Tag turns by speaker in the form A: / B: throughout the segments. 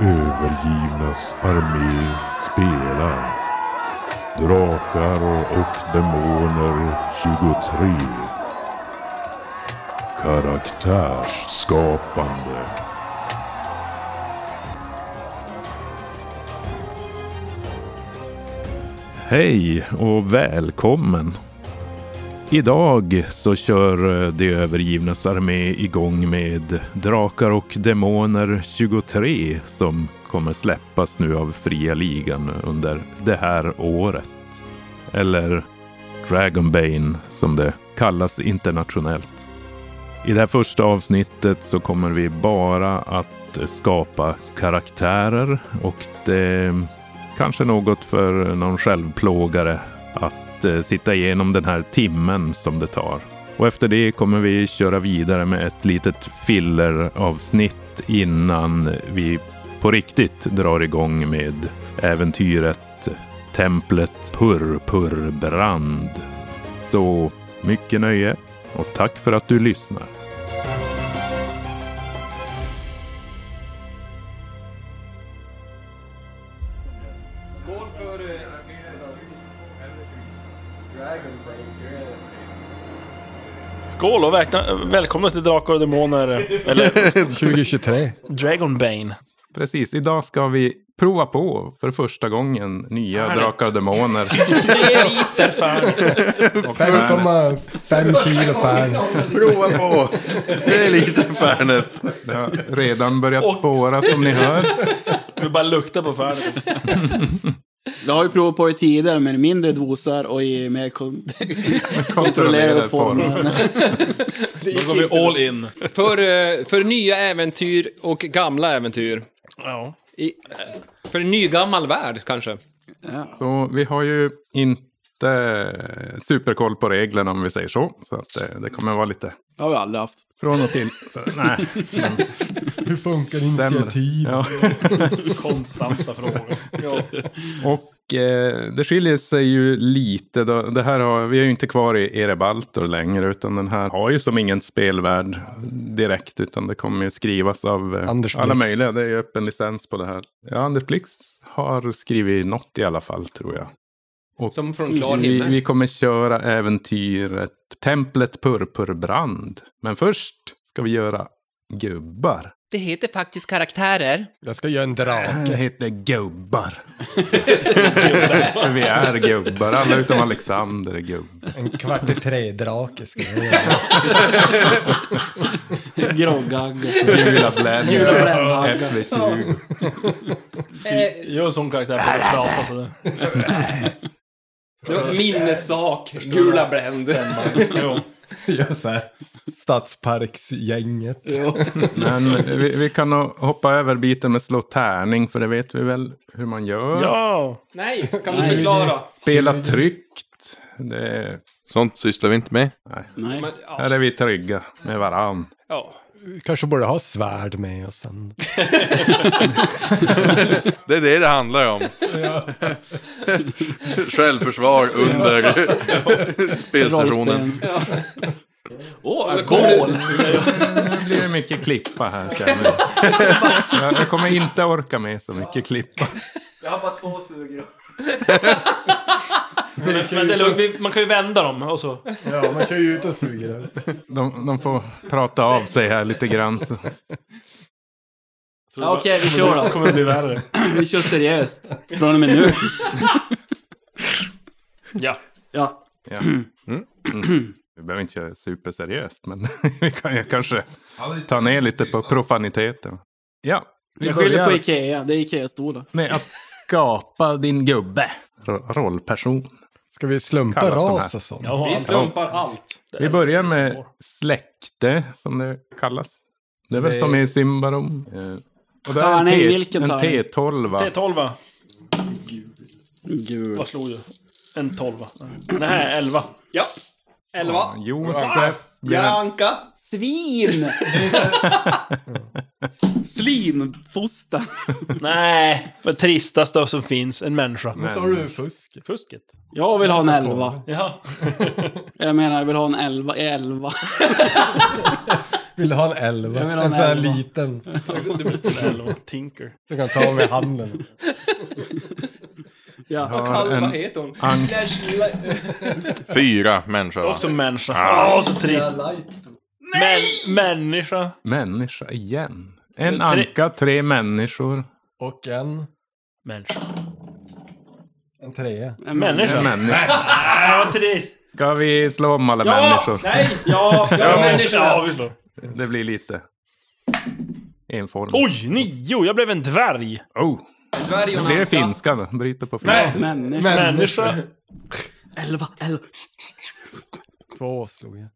A: övergivnas armé spelar. Drakar och demoner 23. Karaktärsskapande.
B: Hej och välkommen! Idag så kör eh, De övergivnas armé igång med Drakar och Demoner 23 som kommer släppas nu av Fria Ligan under det här året. Eller Dragonbane som det kallas internationellt. I det här första avsnittet så kommer vi bara att skapa karaktärer och det kanske något för någon självplågare att eh, sitta igenom den här timmen som det tar. Och efter det kommer vi köra vidare med ett litet filleravsnitt innan vi på riktigt drar igång med äventyret Templet Purpurbrand. Så mycket nöje och tack för att du lyssnar.
C: Skål för eh,
D: Skål och väkna, välkomna till Drakar och Demoner, eller
E: 2023.
D: Dragonbane.
B: Precis, idag ska vi prova på för första gången nya
D: Färdigt.
B: Drakar och Demoner.
D: Där fan.
E: 5,5 kilo färn.
F: Prova på! Det är lite Fernet.
B: Det har redan börjat
D: Och-
B: spåra som ni hör.
D: Vi bara luktar på färden.
G: Jag har ju provat på det tidigare, men i mindre doser och i mer kon- kontrollerade
B: Kontrollerad form.
G: former.
D: Då går vi all in.
H: För, eh, för nya äventyr och gamla äventyr.
D: Ja.
H: I, för en nygammal värld, kanske.
B: Så vi har ju inte superkoll på reglerna om vi säger så. Så att eh, det, det kommer vara lite
G: Det har vi aldrig haft.
B: från och till. Så, nej,
E: Hur funkar
B: sämre.
E: initiativ?
B: Ja.
D: Konstanta frågor. Ja.
B: Och eh, det skiljer sig ju lite. Då. Det här har, vi är ju inte kvar i Erebaltor längre. Utan den här har ju som ingen spelvärld direkt. Utan det kommer ju skrivas av eh,
E: Anders
B: alla
E: Blix.
B: möjliga. Det är ju öppen licens på det här. Ja, Anders Blix har skrivit något i alla fall tror jag.
H: Som från klar
B: Vi,
H: himmel.
B: vi kommer köra äventyret Templet Purpurbrand. Men först ska vi göra gubbar.
H: Det heter faktiskt karaktärer.
E: Jag ska göra en drake.
B: Det heter gubbar. För vi är gubbar. Alla utom Alexander är gubbar.
E: En kvart i tre-drake ska jag göra.
G: Groggagg.
B: Gula
G: Gula
B: bländor.
G: bländor.
B: FV20.
D: Gör en sån karaktär för att prata sådär.
H: Det var minnesak. Gula bränd.
D: Jo.
E: Gör så här. Stadsparksgänget.
B: Men vi, vi kan nog hoppa över biten med slå tärning. För det vet vi väl hur man gör.
D: Ja.
H: Nej, kan du förklara?
B: Spela tryggt. Det,
F: Sånt sysslar vi inte med.
G: Nej.
H: Men, ja,
B: här är vi trygga med varann.
H: ja.
E: Vi kanske borde ha svärd med oss sen.
F: Det är det det handlar om. Självförsvar under spelsessionen.
G: Rollspel. Ja. Åh,
H: Men kommer
G: alkohol!
B: Nu blir det mycket klippa här känner jag. jag. Jag kommer inte orka med så mycket klippa.
D: Men, men det är lugnt, vi- man kan ju vända dem och så.
E: Ja, man kör ju ut och suger upp.
B: De, de får prata av sig här lite grann. Så.
G: Ja, Okej, vi kör
D: Det
G: då.
D: kommer bli värre.
G: Vi kör seriöst. Från och med nu.
D: Ja.
G: Ja.
B: Ja. Vi behöver inte köra superseriöst, men vi kan ju kanske ta ner lite på profaniteten. Ja, vi
G: Jag skyller på
B: börjar
G: Ikea. Det är Ikea-stolar.
B: med att skapa din gubbe. Ro- Rollperson.
E: Ska vi slumpa
B: Kallas de här?
E: ras och sånt?
D: Ja,
H: Vi slumpar allt.
B: Vi börjar med släkte, som det kallas. Det är väl
E: Det-
B: som i Symbarom. Eh, Och där är en,
G: Tärning,
B: T-
G: vilken
B: en
G: tärning?
B: T12.
D: Det är tolva.
G: Gud.
D: Vad slog du? En tolva. Nej, elva.
H: Ja. Elva.
B: Josef blev en
H: Bianca.
G: Svin! Slinfoster.
D: Nej, för tristaste som finns, en människa.
E: Men så har du fusk.
D: Fusket.
G: Jag vill ha en elva.
D: Ja.
G: Jag menar, jag vill ha en elva. Elva.
E: Vill du ha en elva?
G: Jag vill ha
E: en
G: en
E: sån här
G: elva.
E: liten.
D: Du blir lite elva. Tinker.
E: Du kan ta med handen.
G: Ja.
H: Vad kall-
B: en-
H: Vad heter hon?
B: Ank-
H: Flash... Li-
I: Fyra människor va?
D: Också människa. Åh, så trist. Män, människa.
B: Människa igen. En
D: Men tre-
B: anka, tre människor.
E: Och en.
D: Människa.
E: En trea.
D: Människa.
B: Människa.
D: Nej, vad trist.
B: Ska vi slå om alla människor?
D: Nej! Ja, ja,
H: människa.
D: Ja, vi slår.
B: Det blir lite. Enformigt.
D: Oj, nio! Jag blev en dvärg.
B: Oh,
H: Dvärg och
B: det är
H: Nanka.
B: finska då. Bryter på finska.
G: Människa.
D: Människa.
G: Elva, elva.
E: Två slog jag.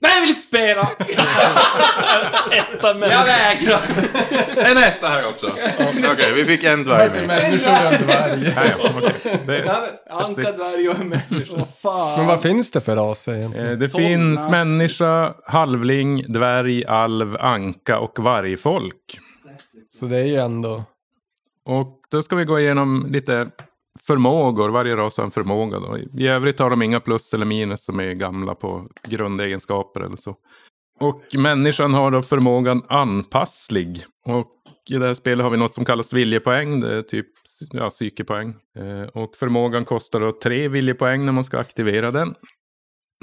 G: Nej, jag vill inte spela!
D: Etta
G: Jag
D: människa.
G: vägrar!
I: En etta här också. Okej, vi fick en dvärg med.
E: Människor och en dvärg.
B: Nej, ja, okej. det,
H: Ja, men Anka, dvärg och människa. Vad fan.
E: Men vad finns det för raser egentligen?
B: eh, det finns
G: Sådana.
B: människa, halvling, dvärg, alv, anka och vargfolk.
E: Så det är ju ändå...
B: Och då ska vi gå igenom lite förmågor. Varje ras har en förmåga. Då. I övrigt har de inga plus eller minus som är gamla på grundegenskaper eller så. Och människan har då förmågan anpasslig. Och i det här spelet har vi något som kallas viljepoäng. Det är typ ja, psykepoäng. Eh, Och förmågan kostar då tre viljepoäng när man ska aktivera den.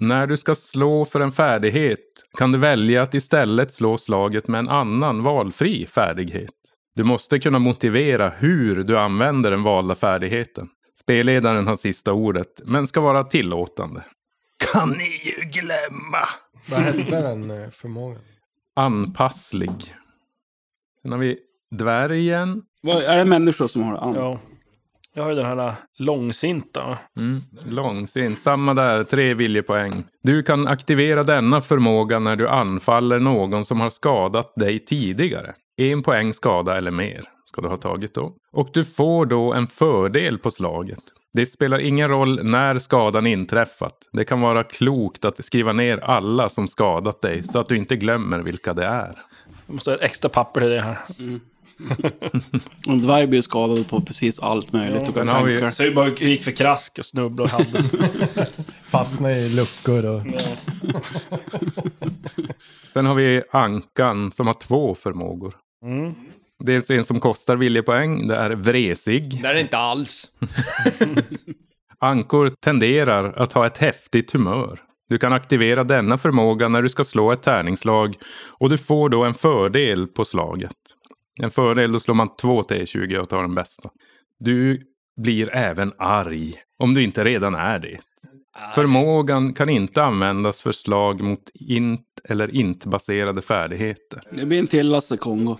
B: När du ska slå för en färdighet kan du välja att istället slå slaget med en annan valfri färdighet. Du måste kunna motivera hur du använder den valda färdigheten. Spelledaren har sista ordet, men ska vara tillåtande. Kan ni ju glömma!
E: Vad hette den eh, förmågan?
B: Anpasslig. Sen har vi dvärgen.
G: Vad- Är det människor som har det? Ja.
D: Ja. Jag har ju den här äh, långsinta. va?
B: Mm. Långsint. Samma där, tre viljepoäng. Du kan aktivera denna förmåga när du anfaller någon som har skadat dig tidigare. En poäng skada eller mer ska du ha tagit då. Och du får då en fördel på slaget. Det spelar ingen roll när skadan inträffat. Det kan vara klokt att skriva ner alla som skadat dig så att du inte glömmer vilka det är.
D: Jag måste ha ett extra papper till det här.
G: En dvärg blir skadad på precis allt möjligt. och
B: sen har vi-
G: tankar.
D: Så jag bara gick för krask och snubblade och hade så.
E: Fastnar i luckor och...
B: Sen har vi Ankan som har två förmågor. Dels en som kostar viljepoäng. Det är vresig.
H: Det är det inte alls.
B: Ankor tenderar att ha ett häftigt humör. Du kan aktivera denna förmåga när du ska slå ett tärningslag och du får då en fördel på slaget. En fördel, då slår man två T20 och tar den bästa. Du blir även arg, om du inte redan är det. Förmågan kan inte användas för slag mot int eller int-baserade färdigheter.
G: Det blir en till Lasse Kongo.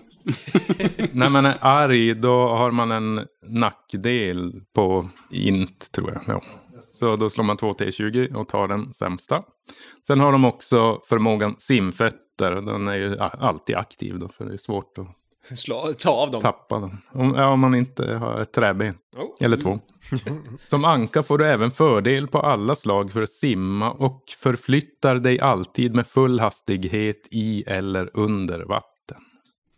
B: När man är arg då har man en nackdel på int tror jag. Ja. Så då slår man 2 T20 och tar den sämsta. Sen har de också förmågan simfötter. Den är ju a- alltid aktiv då för det är svårt att
H: Slå, ta av dem.
B: tappa den. Om, ja, om man inte har ett träben.
H: Oh.
B: Eller två. Som anka får du även fördel på alla slag för att simma och förflyttar dig alltid med full hastighet i eller under vatten.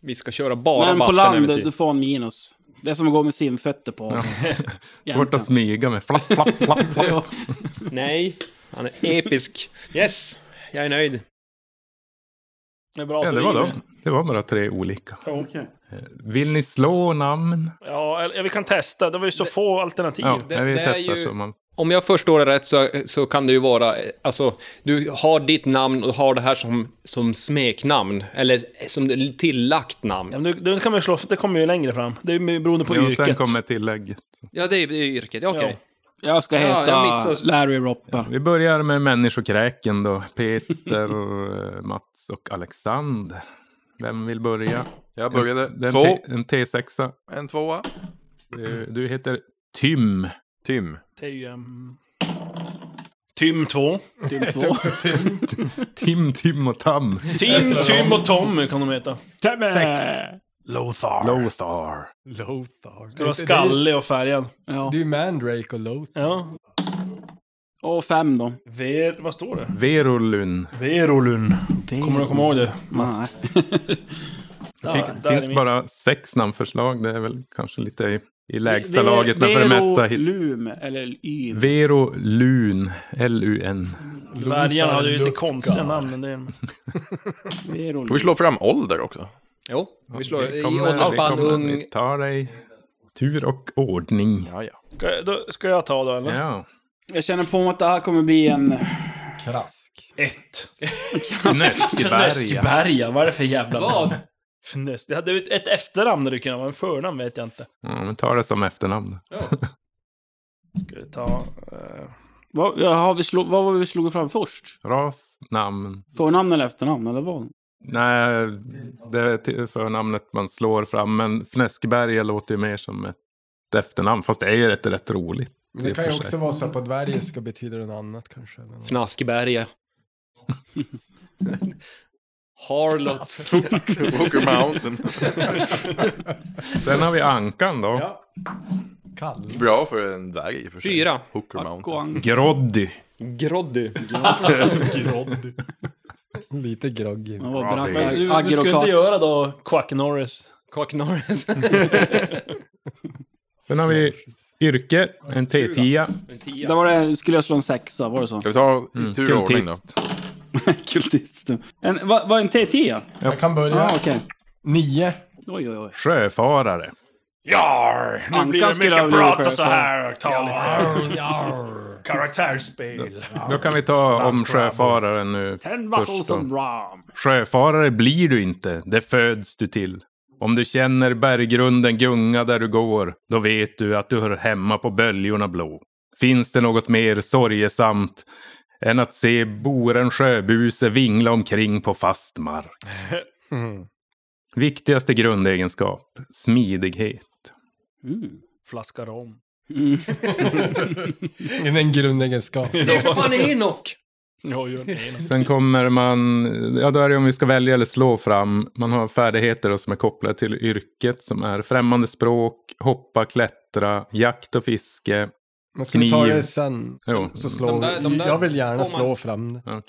H: Vi ska köra bara
G: Men på land,
H: vattenäventyr.
G: du får en minus. Det är som att gå med simfötter på.
B: Svårt att smyga med flapp, flapp, flapp, flapp.
H: Nej, han är episk. Yes, jag är nöjd.
D: Alltså, Det är bra,
B: Ja,
D: så
B: det var
D: ringer
B: dem. Det var bara tre olika.
D: vi.
B: Vill ni slå namn?
D: Ja, eller- vi kan testa. Det var ju så få alternativ.
B: Ja,
H: Det-
B: jag vill
H: det är
B: testa
H: ju-
B: så man...
H: Om jag förstår det rätt så, så kan det ju vara, eh, alltså, du har ditt namn och har det här som, som smeknamn, eller som tillagt
D: Ja,
H: namn.
D: men det, det kan man ju slå, för det kommer ju längre fram. Det är ju beroende på
B: Jo, sen
D: yrket.
B: kommer tillägget.
H: Ja, det är det är yrket, ja, okej.
D: Ja.
G: Jag ska
H: Ja,
G: heta
H: jag missar-
G: Larry Ropper.
B: Vi börjar med människokräken då. Peter, eh, Mats och Alexander. Vem vill börja?
I: Jag började.
B: Den
I: Två.
B: T- en T6.
I: En tvåa.
B: Du, du heter Tym.
I: Tim.
D: Det är ju... ehm, Tym 2.
G: Typ två.
B: Tim, Tim och Tam.
D: Tim, Tym och Tommy kan de heta. Lothar.
B: Lothar.
E: Lothar.
D: Det var skallig och färgad.
G: Ja.
E: Det är ju Mandrake och Lothar.
D: Ja.
G: Och fem då.
D: Ver... Vad står det?
B: Verolun.
D: Verolun. Kommer du komma ihåg det?
G: Nej.
D: Ja,
B: Fick,
D: där är
B: finns
D: min.
B: bara sex namnförslag. Det är väl kanske lite i I lägsta laget, men för det mesta... hit-
G: Lum, eller Ym.
B: Vero Lun, L-U-N.
D: Dvärgarna hade ju lite konstiga namn. Men det är...
I: Kan vi slå fram ålder också?
H: Jo, vi slår i
B: Välkommen,
H: åldersspann
B: välkommen.
H: ung.
B: Vi tar dig tur och ordning.
I: Ja, ja.
D: ska, jag- då, ska jag ta då eller?
B: Ja.
G: Jag känner på att det här kommer bli en...
E: Krask.
D: Ett.
B: Fnöskberga.
D: Fnöskberga, vad är det för jävla namn?
H: Vad?
D: Fnös. Det hade ju ett- ett efternamn det kunde vara, en förnamn vet jag inte.
B: Ja, men ta det som efternamn.
D: Ska vi ta... eh,
G: Vad, jaha, vi slog, vad var vi slog fram först?
B: Ras, namn.
G: Förnamn eller efternamn, eller vad?
B: Nej, det är till- förnamnet man slår fram. Men Fnöskberga låter ju mer som ett efternamn. Fast det är ju rätt, rätt roligt.
E: Men det
B: i och
E: kan
B: för
E: ju
B: sig.
E: också vara så att på dvärgiska betyder det något annat kanske. eller något.
H: Fnaskberga. Harlot.
I: Walker Mountain.
B: Sen har vi Ankan då.
E: Kall.
I: Bra för en dvärg i och för sig.
H: Fyra.
I: Hooker Mountain.
G: Goang.
B: Groddy.
H: Groddy.
E: Lite groggy.
G: Han var
I: Ja,
G: brank
I: det är-
D: Du,
G: ag-
D: du skulle inte
G: agrokat.
D: göra då Quack Norris?
H: Quack Norris.
B: Sen har vi Yrke, en T10.
G: Där var det, skulle jag slå en sexa, var det så?
I: Ska vi ta i tur och ordning då?
B: Kultist.
G: Kultist. En, vad, vad, en T10?
E: Jag kan börja.
G: Ja, okej.
E: Nio.
G: Oj, oj, oj.
B: Sjöfarare.
G: Ankan skulle jag vilja prata så här.
D: och ta lite karaktärsspel.
B: Då kan vi ta om sjöfararen nu
G: Ten
B: först
G: bottles
B: då.
G: of rum.
B: Sjöfarare blir du inte, det föds du till. Om du känner berggrunden gunga där du går, då vet du att du hör hemma på böljorna blå. Finns det något mer sorgesamt än att se boren sjöbuse vingla omkring på fast mark? Viktigaste grundegenskap, smidighet.
D: Flaska rom.
E: Det är en grundegenskap.
H: Det är för fan Henok!
D: Jo, gör inte det.
B: Sen kommer man, ja då är det om vi ska välja eller slå fram. Man har färdigheter då som är kopplade till yrket som är främmande språk, hoppa, klättra, jakt och fiske.
E: Men ska vi ta
B: Kniv.
E: det sen?
B: Jo.
E: Så slår
H: De där- de där
E: jag vill gärna
H: får man-
E: slå fram det.
B: okej.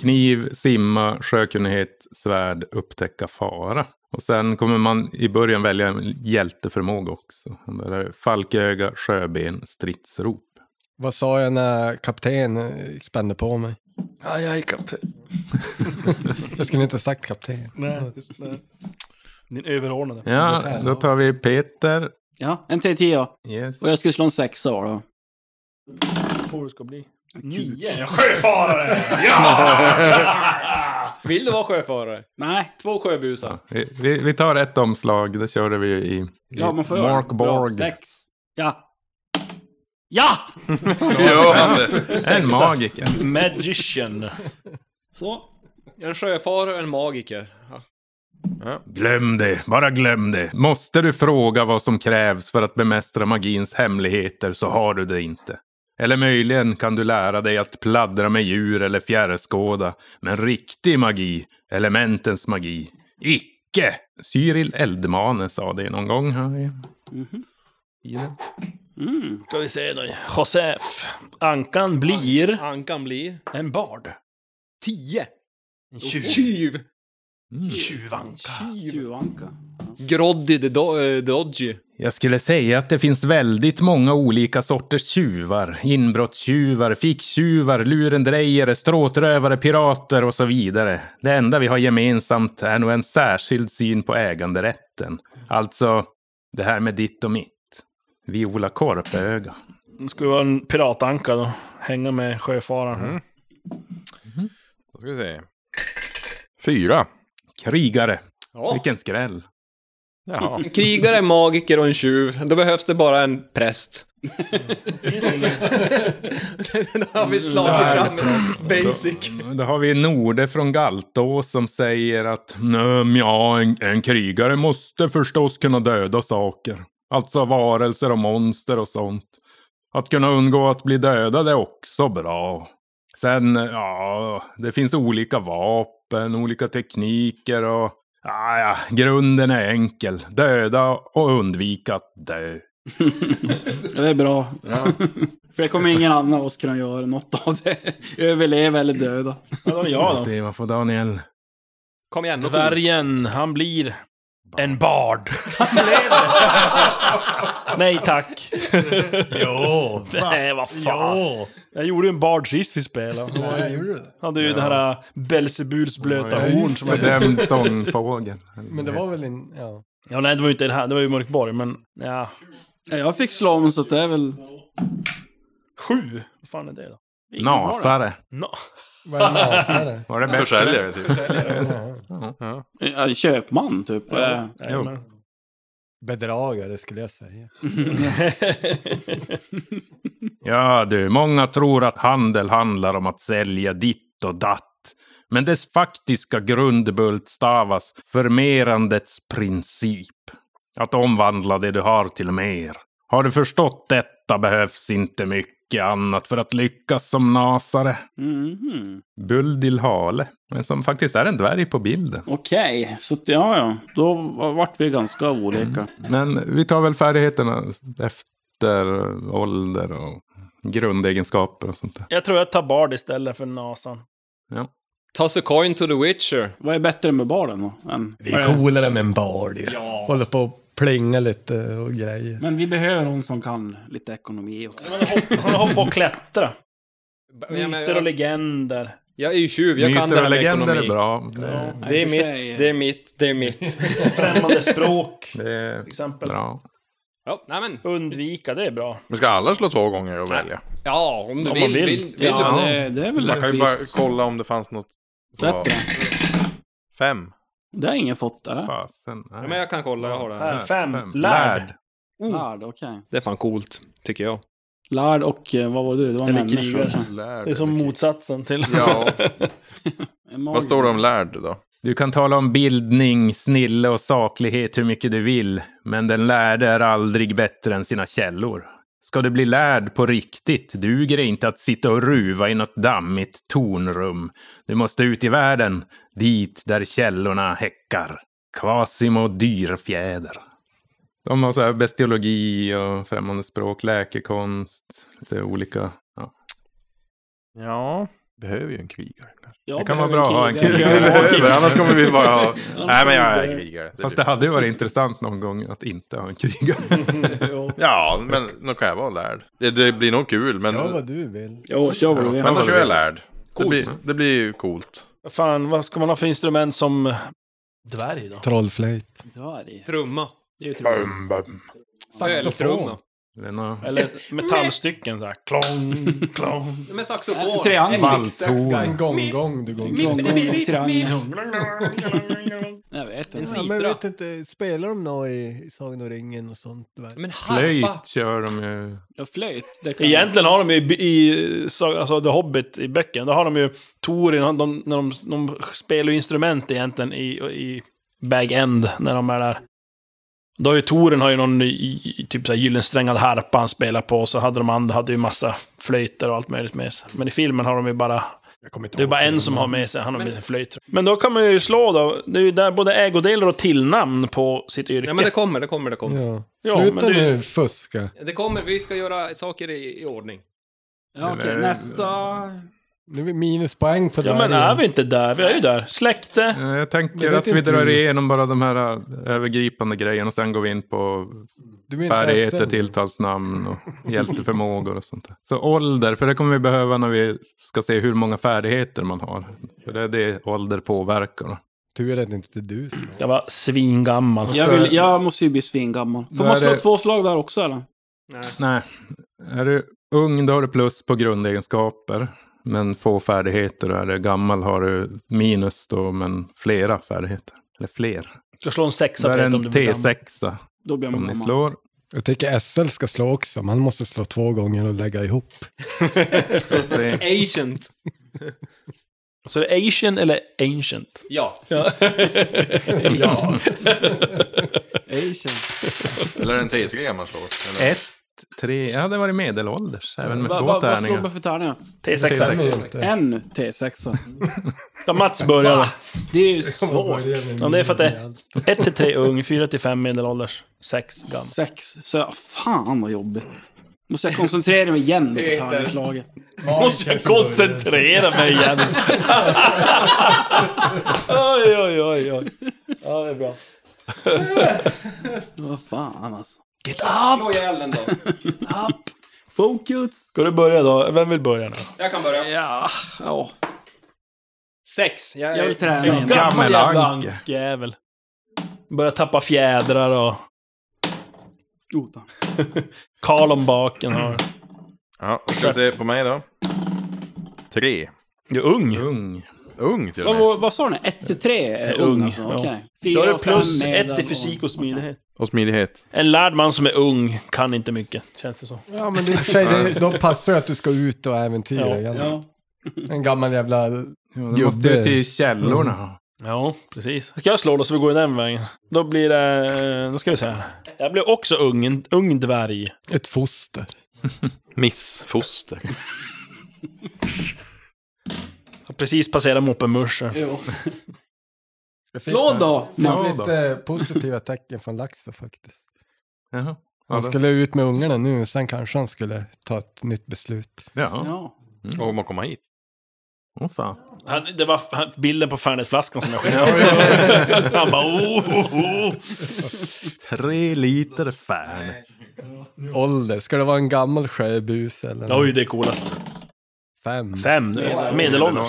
B: Kniv, simma, sjökunnighet, svärd, upptäcka fara. Och sen kommer man i början välja en hjälteförmåga också. Och Där är det falköga, sjöben, stridsrop.
E: Vad sa jag när kapten eh, spände på mig?
D: Aj, aj, kapten.
E: Jag skulle inte ha sagt kapten.
D: Nej, just det. Din överordnade.
B: Ja, då tar vi Peter.
G: Ja, en T10.
B: Yes.
G: Och jag skulle slå en sexa var det.
D: På det ska bli. Nio. Sjöfarare!
H: Vill du vara sjöfarare?
G: Nej.
H: Två sjöbusar.
B: Vi, vi, vi tar ett omslag, det körde vi ju i, i
G: Ja, man får göra
B: Mark
G: det.
B: Borg.
G: Bra, sex. Ja. Ja!
I: Gör han det?
B: En magiker.
D: Magician.
G: Så.
H: En sjöfarare och en magiker.
B: Glöm det, bara glöm det. Måste du fråga vad som krävs för att bemästra magins hemligheter så har du det inte. Eller möjligen kan du lära dig att pladdra med djur eller fjärrskåda. Men riktig magi, elementens magi, icke! Cyril Eldmane sa det någon gång här. i- i det.
D: Ska vi se då. Josef. Ankan blir
H: Ankan blir...
D: en bard.
H: Tio!
D: En tjuv.
H: Tjuv!
D: Tjuvanka.
G: Tjuvanka.
H: Groddy the do- eh, Dodgy.
B: Jag skulle säga att det finns väldigt många olika sorters tjuvar. Inbrottstjuvar, ficktjuvar, lurendrejare, stråtrövare, pirater och så vidare. Det enda vi har gemensamt är nog en särskild syn på äganderätten. Alltså, det här med ditt och mitt. Viola Korpöga.
D: Det ska vara en piratanka då. Hänga med sjöfararen.
I: Då ska vi se. Fyra.
B: Krigare.
H: Ja.
B: Vilken skräll.
I: Jaha.
H: En krigare, en magiker och en tjuv. Då behövs det bara en präst. Då har vi slagit fram en basic.
B: Mm, Då har vi Norde från Galtås som säger att "Nöm, ja, en, en krigare måste förstås kunna döda saker. Alltså varelser och monster och sånt. Att kunna undgå att bli dödad är också bra. Sen, ja, det finns olika vapen, olika tekniker och... Ja, ja, grunden är enkel. Döda och undvika att dö.
G: Det är bra. För det kommer ingen annan av oss kunna göra något av det. Överleva eller döda.
D: Ja, då är jag
B: Vi
D: då.
B: ser, vad får Daniel?
H: Kom igen, nu får vi-
D: Dvärgen, han blir En bard. Nej tack.
J: Jo!
D: Nej, vad fan.
J: Jo!
D: Jag gjorde ju en bard sist vi spelade. Han
E: Nej, gjorde du det?
D: hade ju den här äh, Belzebuls blöta
E: Ja,
D: horn.
E: just
D: Som
E: det.
B: Nämnd sångfågel.
E: Men det var väl en... Ja.
D: ja, nej, det var ju inte den här. Det var ju Mörkborg, men ja.
G: Ja, Jag fick slå om så att det är väl...
D: Sju? Vad fan är det då? Ingen har det.
B: Nasare.
D: Na-
E: Vad är en nasare?
B: Var det bättre?
I: Försäljare typ.
E: Ja.
G: Ja, eh, Köpman, typ. Ja.
D: Nej,
B: Jo.
D: men-
E: Bedragare skulle jag säga.
B: Ja du, många tror att handel handlar om att sälja ditt och datt. Men dess faktiska grundbult stavas förmerandets princip. Att omvandla det du har till mer. Har du förstått detta behövs inte mycket annat för att lyckas som nasare.
G: Mhm.
B: Buldil Hale, men som faktiskt är en dvärg på bilden.
G: Okej, så att, ja, ja. Då vart vi ganska olika.
B: Mm. Men vi tar väl färdigheterna efter ålder och grundegenskaper och sånt där.
D: Jag tror jag tar bard istället för nasan.
H: Toss a coin to the witcher.
G: Vad är bättre med baren då? Än...
E: Det är coolare med en bar ju. Håller på och plinga lite och grejer.
G: Men vi behöver hon som kan lite ekonomi också.
D: Hon hoppar och klättra.
H: Jag,
D: Myter och legender.
H: jag är ju tjuv, jag kan det
B: Myter
H: här
B: och
H: med
B: legender
H: ekonomi.
B: är bra.
H: Det är
G: I och för sig.
H: mitt, det är mitt, det är mitt.
D: Främmande språk,
B: Det är
D: till exempel.
B: bra.
H: Ja, nej men.
D: Undvika, det är bra.
I: Men ska alla slå två gånger och välja?
H: Ja, om du
D: Om man
H: vill.
D: vill.
H: vill, vill
G: Ja, det, det är väl
I: Man kan ju bara
G: rättvist.
I: kolla om det fanns något. som var-
G: Bättre.
I: Fem.
G: Det har ingen fått, eller?
B: Fasen. nej.
H: Ja, men jag kan kolla, jag har det här.
D: Här, fem. Lärd.
B: Lärd.
G: Mm. Lärd, okej.
H: Det är fan coolt, tycker jag.
G: Lärd och eh, vad var du? Det var
D: Eller
G: människor.
D: krigare.
I: Lärd.
D: Det är som motsatsen till...
I: Ja.
G: Vad
I: Vad står det om lärd då?
B: Du kan tala om bildning, snille och saklighet hur mycket du vill, men den lärde är aldrig bättre än sina källor. Ska du bli lärd på riktigt duger det inte att sitta och ruva i något dammigt tornrum. Du måste ut i världen, dit där källorna häckar. Quasimo dyrfjäder. De har så här bestiologi och främmande språk, läkekonst, lite olika. Ja.
I: Ja, behöver ju en krigare.
B: Det kan vara bra att ha en
I: Vi
B: krigare.
I: behöver, annars kommer vi bara ha... Nej, men jag är krigare. Det är
B: Fast
I: du.
B: det hade ju varit intressant någon gång att inte ha en krigare.
I: Ja, men nog kan jag vara lärd. Det, det blir nog kul, men...
E: Gör vad du vill.
G: Jo, kör vad du vill.
I: Men då kör jag lärd. Det
H: Coolt.
I: blir, det blir ju coolt.
D: Fan, vad ska man ha för instrument som dvärg då?
E: Trollflöjt.
G: Dvärg.
H: Trumma.
D: Det är ju trevligt.
H: Öltrumma.
B: Det är nå-
D: Eller metallstycken såhär. Klong, klong.
H: Men saxofon.
G: En triangel.
H: En dixsax, guy.
E: En gong-gong du gång.
G: Gång, gång, gång, triangel. Jag vet inte.
H: En
E: Ja, men jag
H: Sitra.
E: vet inte, spelar de nå i Sagan om ringen och sånt?
H: Men harpa.
B: Flöjt kör de ju.
G: Ja, flöjt. Det kan
D: Egentligen har de ju i, i sa- alltså The Hobbit i böckerna, då har de ju Torin, han- de, när de, de spelar ju instrument egentligen i, i Bag-End när de är där. Då har ju Torin har ju någon i, i, typ såhär gyllensträngad harpa han spelar på, och så hade de andra hade ju massa flöjter och allt möjligt med sig. Men i filmen har de ju bara
E: Jag kommer inte
D: Det är
E: ihåg
D: bara en
E: filmen.
D: som har med sig, han har med sig flöjt. Men då kan man ju slå då, det är ju där både ägodelar och tillnamn på sitt yrke.
H: Ja, men det kommer, det kommer, det kommer.
E: Ja.
D: Ja,
E: Sluta
D: men det-
E: nu fuska.
H: Det kommer, vi ska göra saker i, i ordning.
G: Ja, okej. Nästa...
E: Nu är vi minuspoäng på det
D: ja,
E: här
D: men
E: igen.
D: är vi inte där? Vi är ju där. Släkte.
B: Eh, Jag
E: Men
B: tänker
E: vet
B: att vi
E: inte
B: drar
E: vi-
B: igenom bara de här eh, övergripande grejerna och sen går vi in på
E: Du är inte
B: färdigheter,
E: SM.
B: tilltalsnamn och hjälteförmågor och sånt där. Så ålder, för det kommer vi behöva när vi ska se hur många färdigheter man har. För det är det ålder påverkar. då.
E: Tur att det inte är du som...
D: Jag var svingammal.
G: Jag, vill, jag måste ju bli svingammal.
B: Då
G: Får man
B: är
G: slå
B: det-
G: två slag där också, eller?
B: Nej, är du ung då har du plus på grundegenskaper. Men få färdigheter och är du gammal har du minus då, men flera färdigheter. Eller fler.
D: Jag ska slå en
B: Det
D: sexa på
B: är
D: det
B: en
D: om du blir gammal.
B: T6
G: Då blir
B: som
G: man
B: ni
G: gammal.
B: slår.
E: Jag tycker SL ska slå också, man måste slå två gånger och lägga ihop.
B: Ska se.
H: Agent.
D: Så är det Asian eller Ancient?
H: Ja.
G: Asian.
I: Eller en T3 man slår. Eller?
B: Ett, tre, ja det var det medelålders. Även med
G: Va,
B: två
G: va, vad slår
B: tärningar.
G: man för tärningar?
D: T6.
G: En T6.
D: Ja, Mats började.
G: Det är ju svårt.
D: Ja, det är för att det är 1 till 3 ung, 4 till 5 medelålders, 6 gammal.
G: Sex. Så jag, fan vad jobbigt. Måste jag koncentrera mig igen på tärningslaget?
D: Måste jag koncentrera mig igen? oj, oj, oj, oj. Ja, det är bra.
G: Vad fan alltså.
D: Get up!
H: Slå ihjäl den då.
G: Up! Focus!
D: Ska du börja då? Vem vill börja nu?
H: Jag kan börja.
G: Ja, ja.
H: Sex. Jag,
G: Jag vill träna
D: En
G: igen.
D: gammal jävla
F: anke.
D: ankjävel. Börjar tappa fjädrar och
G: Otan.
D: kal om baken. Har.
F: Ja, vi ska se på mig då. Tre.
D: Du är ung.
B: Ung.
F: Ung till och
G: Vad,
F: med.
G: vad, vad sa ni? 1 till 3 är
D: ung,
G: ung alltså?
D: ja.
G: Okej.
D: Då
G: Fyra
D: har du
G: och fem
D: plus
G: medel
D: ett i fysik och smidighet.
F: Och smidighet.
D: En lärd man som är ung kan inte mycket, känns det så.
E: Ja, men det, i och för sig, det, då passar det att du ska ut och äventyra
D: Ja.
E: igen.
G: Ja.
E: En gammal jävla...
B: Du måste ju till källorna.
D: Ja, precis. Ska jag slå då så vi går den vägen? Då blir det... Nu ska vi se här. Jag blev också ung, en ung dvärg.
E: Ett foster.
F: Missfoster.
D: Jag precis passerat moppemuschen.
G: Jo. Slå då!
E: Jag
G: Max.
E: fick lite positiva tecken från Laxå faktiskt.
B: Jaha. Ja,
E: Han
B: då-
E: skulle ut med ungarna nu, sen kanske han skulle ta ett nytt beslut.
B: Ja,
G: Ja.
I: Mm.
F: Och om man kommer hit.
B: åh fan.
D: Han, det var han, bilden på Fernetflaskan som jag skickade. han bara oh, oh, oh.
B: Tre liter fan.
E: Ålder, ska det vara en gammal sjöbus eller
D: Oj, det är coolast.
E: fem?
D: Fem, medelålders.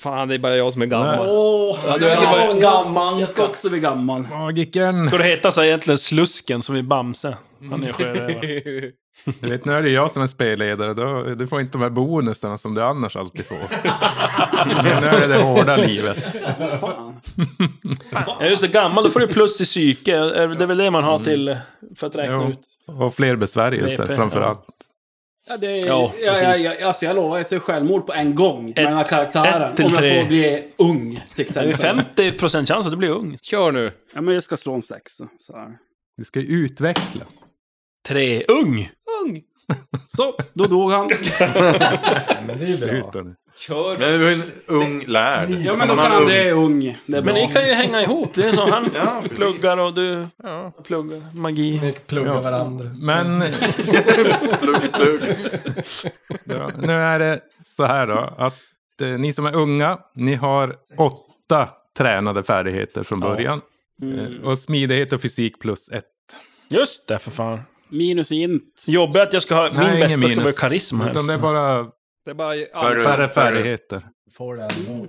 H: Fan, det är bara jag som är gammal.
G: Åh!
H: Ja, du- det var-
G: gammal. Jag ska också bli gammal.
B: Magiken.
D: Ska det heta så här egentligen Slusken som i Bamse? Han är sjörövare.
B: Du vet, nu är det jag som är spelledare. Då, du får inte de här bonusarna som du annars alltid får. nu är det det hårda livet.
G: Fan.
D: Ja, just det. Gammal, då får du plus i psyke. Det är väl det man har till för att räkna
B: Jo.
D: ut.
B: Och fler besvärjelser
D: VP,
B: framför
D: ja.
B: allt.
G: Ja, det är,
D: Ja,
G: ja, jag, jag,
D: precis.
G: jag, alltså jag lovar att det är självmord på en gång. med den här karaktären.
D: ett till
G: Om jag
D: tre.
G: får bli ung, till
D: Det är ju
G: exempel.
D: 50% chans att du blir ung.
H: Kör nu.
G: Ja, men jag ska slå en sexa. Så, här.
B: Du ska ju utveckla.
D: Tre. Ung!
H: Ung.
G: så då dog han.
E: Men det är ju bra.
B: Sluta nu.
H: Kör.
F: Men vi har ju en ung lärd.
G: Ja, men då
F: Någon annan
G: kan han det är ung. Det är
D: Men
G: bra.
D: ni kan ju hänga ihop. Det är så han
F: Ja, precis.
D: pluggar och du
F: Ja.
D: pluggar. Magi.
E: Ni pluggar varandra.
B: Men
F: Plugg, plugg.
B: ja, nu är det så här då. Att eh, ni som är unga, ni har åtta tränade färdigheter från början. Eh, Och smidighet och fysik plus ett.
D: Just det, för fan.
G: Minus int.
D: Jobbigt att jag ska ha... Min
B: Nej, ingen
D: bästa ska
B: minus.
D: vara karisma
B: Utan
D: helst.
B: det är bara
H: Det är bara...
F: Hörru.
B: färre färdigheter.
E: Får det ändå.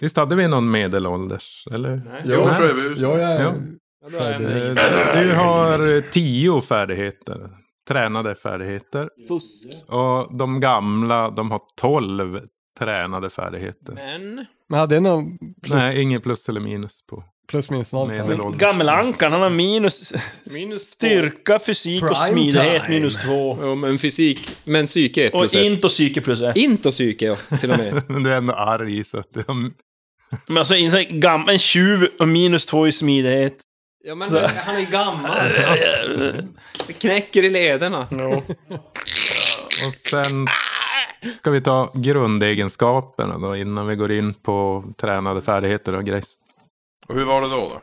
B: Visst hade vi någon medelålders? Eller?
E: Jo,
B: Nej.
F: sjöbus.
E: Jo, jag
B: Ja.
E: är sjöbus.
B: Eh, Du har eh, tio färdigheter. Tränade färdigheter.
G: Fusk.
B: Och de gamla, de har tolv tränade färdigheter.
H: Men...
E: Men hade jag någon plus,
B: Nej, inget plus eller minus på
E: plus minus noll? på det?
B: medelålders.
D: Gammelankan, han har minus...
H: Minus
D: Styrka, fysik och
E: Prime
D: smidighet
E: time.
D: minus två.
H: Ja, men fysik... Men psyke är
D: Och
H: plus ett.
D: int och psyke plus ett.
H: Inte och psyke, ja, till och med.
B: Men du är ändå arg så att du har...
D: Men alltså, in- så här, gam- en tjuv och minus två i smidighet.
H: Ja, men han är gammal. Det knäcker i lederna.
B: Och sen ska vi ta grundegenskaperna då innan vi går in på tränade färdigheter och grejs.
F: Och hur var det då? då?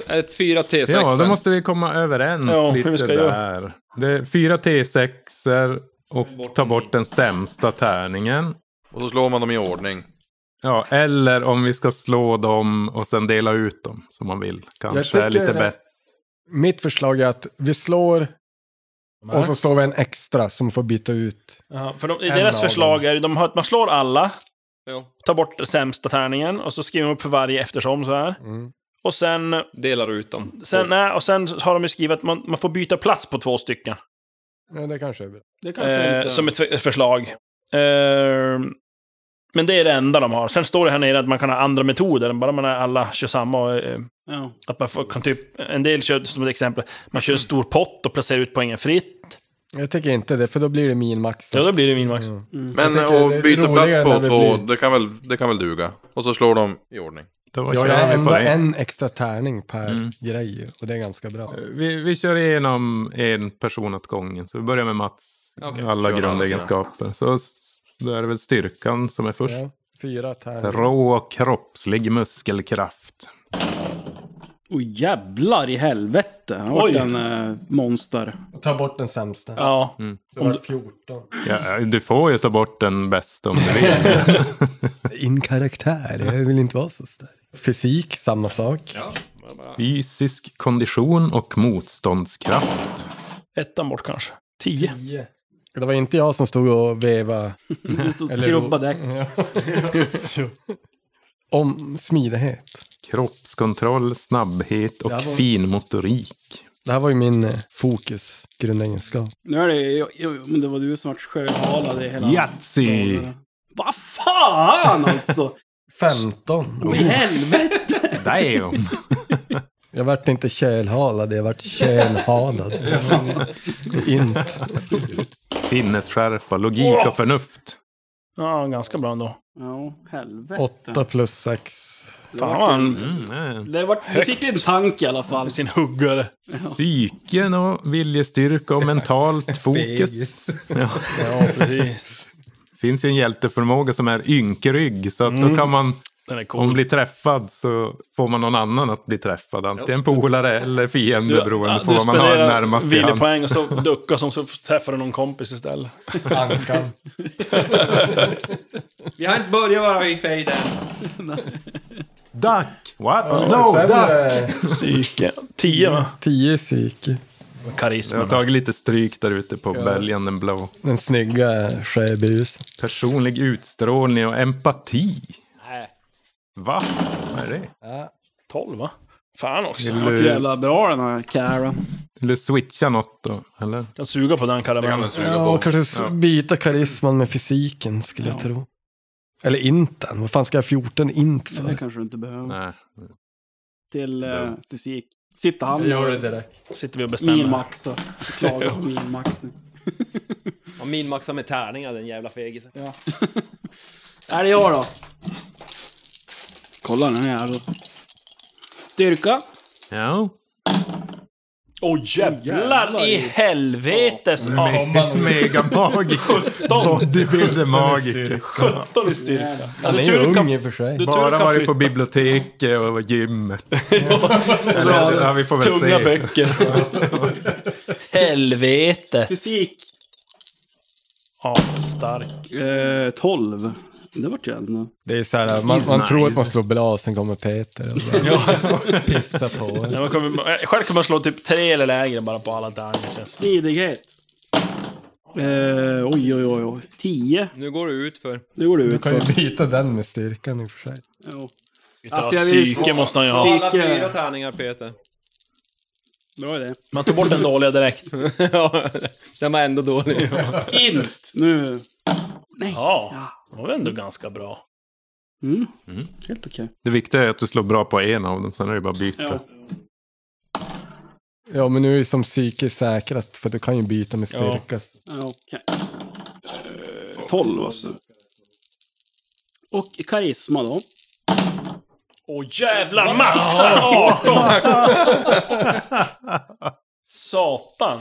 H: Så Ett 4 T6.
B: Ja, då måste vi komma överens
D: Ja, hur
B: lite
D: ska jag göra?
B: där. Det är fyra T6 och ta bort den sämsta tärningen.
F: Och så slår man dem i ordning.
B: Ja, eller om vi ska slå dem och sen dela ut dem som man vill. Kanske är
E: tycker
B: lite
E: det-
B: bättre.
E: Mitt förslag är att vi slår och så slår vi en extra som får byta ut.
D: Ja, för de, i
E: En
D: deras
E: av
D: förslag är de har, att man slår alla,
H: Ja,
D: tar bort den sämsta tärningen och så skriver man upp för varje eftersom så här. Och sen,
H: delar ut dem.
D: sen, nej, och sen har de ju skrivit att man, man får byta plats på två stycken.
E: Ja, det kanske är bra.
G: Det kanske är
D: Eh,
G: lite...
D: som ett, för- ett förslag. Eh, men det är det enda de har. Sen står det här nere att man kan ha andra metoder, bara man är alla kör samma. Och, eh,
G: Ja.
D: att man får, kan typ, en del kör, som ett exempel, man kör en stor pott och placerar ut poängen fritt.
E: Jag tycker inte det, för då blir det min max.
D: Ja, då blir det min max.
B: Mm.
F: Men
E: tycker det är
F: och byta
E: roligare
F: plats
E: när
F: på
E: det
F: två,
E: blir-
F: det kan, väl, det kan väl duga. Och så slår de i ordning.
B: Då
E: Jag
B: kör
E: har
B: vi på
E: ändå
B: en.
E: en extra tärning per
D: Mm.
E: grej och det är ganska bra.
B: Vi, vi kör igenom en person åt gången. Så vi börjar med Mats.
H: Okej.
B: Alla
F: Kör
B: grundegenskaper. Så s- då är det väl styrkan som är först.
E: Ja, fyra tärningar.
B: Rå och kroppslig muskelkraft.
G: Oj jävlar i helvete. Han har varit
D: Oj.
G: en eh, monster.
E: Ta bort den sämsta.
D: Ja.
E: Så var det 14.
B: Ja, eh, du får ju ta bort den bästa om du vill.
E: In karaktär, jag vill inte vara så stark. Fysik, samma sak.
B: Fysisk kondition och motståndskraft.
D: Ettan bort kanske. Tio.
E: Det var inte jag som stod och vevade.
G: Du stod och
E: Eller-
G: skrubbade däck.
E: Om smidighet.
B: Kroppskontroll, snabbhet och
E: Det här var-
B: fin motorik.
E: Det här var ju min eh, fokus, grundegenskap.
G: Nu är det... Jag, jag, men det var du som vart sjöhalad i hela...
B: Yatzy!
G: Vad fan alltså!
E: 15.
G: I helvete!
B: Damn!
E: Jag vart inte kölhalad, jag vart könhalad. Inte.
B: Sinnesskärpa, logik och förnuft.
D: Ja, ganska bra ändå.
G: Ja, helvete.
E: 8 plus 6.
D: Fan vad han
B: Mm, nej.
G: Det vart, du fick en tank i alla fall.
D: sin huggare.
B: Psyken och viljestyrka och mentalt fokus.
E: Fegis.
B: Ja.
D: Ja, precis.
B: finns ju en hjälteförmåga som är ynkrygg. Så att då kan man,
D: Den är
B: om man
D: cool.
B: blir träffad så får man någon annan att bli träffad. Antingen polare eller fiende beroende på vad man har
D: spenderar
B: närmast till hands.
D: vilopoäng och så duckar som så träffar du någon kompis istället.
E: Ankan.
H: Vi har inte börjat vara i fejden.
B: Duck! What?
E: Oh,
B: no, duck!
E: eh,
D: Psyke. Tio va?
E: 10 psyke.
B: Jag har
D: Karismen.
B: tagit lite stryk där ute på bälgen, den blå.
E: Den snygga sjöbusen.
B: Personlig utstrålning och empati. Va? Vad är det?
D: Tolv va? Fan också.
G: Vart jävla bra den här Cara.
B: Vill du switcha något då? Eller?
D: Den suger på den karamellen.
E: Ja, och kanske s- byta karisman med fysiken skulle jag tro. Eller inten. Vad fan ska jag 14 int
G: Men Det
E: för?
G: kanske du inte behöver.
B: Nej.
G: Till eh, fysik. Sitta han och
E: det direkt.
D: Sitter vi och bestämmer.
G: minmaxa. Alltså, Klaga på minmax nu.
H: Och min maxar med tärningar, den jävla fegisen.
G: Ja. är det jag då? Kolla nu jävlar. Styrka.
B: Ja.
D: Åh jävlar i helvetes! Ja,
B: Megamagiker. Bodybuilder-magiker.
D: 17 i styrka.
E: Han är ju ung i och för sig.
D: Du
B: Bara
D: turkar
B: varit på
D: flytta.
B: biblioteket och gymmet.
G: har
B: Eller,
G: vi
B: ja, vi får väl
D: Tunga
B: se.
D: böcker. Helvete.
G: Fysik.
D: Ja, stark.
G: Eh, 12. Det vart jävligt nu.
E: Det är så här, man,
B: He's
E: man tror att man
B: nice.
E: slår bra, sen kommer Peter och bara pissar på en.
D: Nej, man kommer, själv kommer man slå typ tre eller lägre bara på alla tärningar.
G: Smidighet. Eh, oj, oj, oj, oj. 10.
H: Nu går det ut för.
G: Det går du
E: Du
G: ut
E: kan ju
G: för.
E: byta den med styrkan i och för sig.
G: Jo.
D: Alltså,
G: Alltså, jag vill-
D: psyke måste han ju
H: Ta
D: ha.
H: alla
G: Fick, eh,
H: fyra tärningar, Peter.
G: Det var det.
D: Man tog bort den dåliga direkt.
H: ja, den var ändå dålig.
G: Int! Nu.
D: Ja, det var ändå ganska bra.
G: Mm. Helt okej.
B: Det viktiga är att du slår bra på en av dem, sen är det bara att byta.
G: Ja.
E: Ja, men nu är ju som psyke säkrat, för du kan ju byta med styrka.
G: Ja, Okej. Eh, 12 alltså. Och karisma då.
D: Åh jävlar, maxar 18! Satan.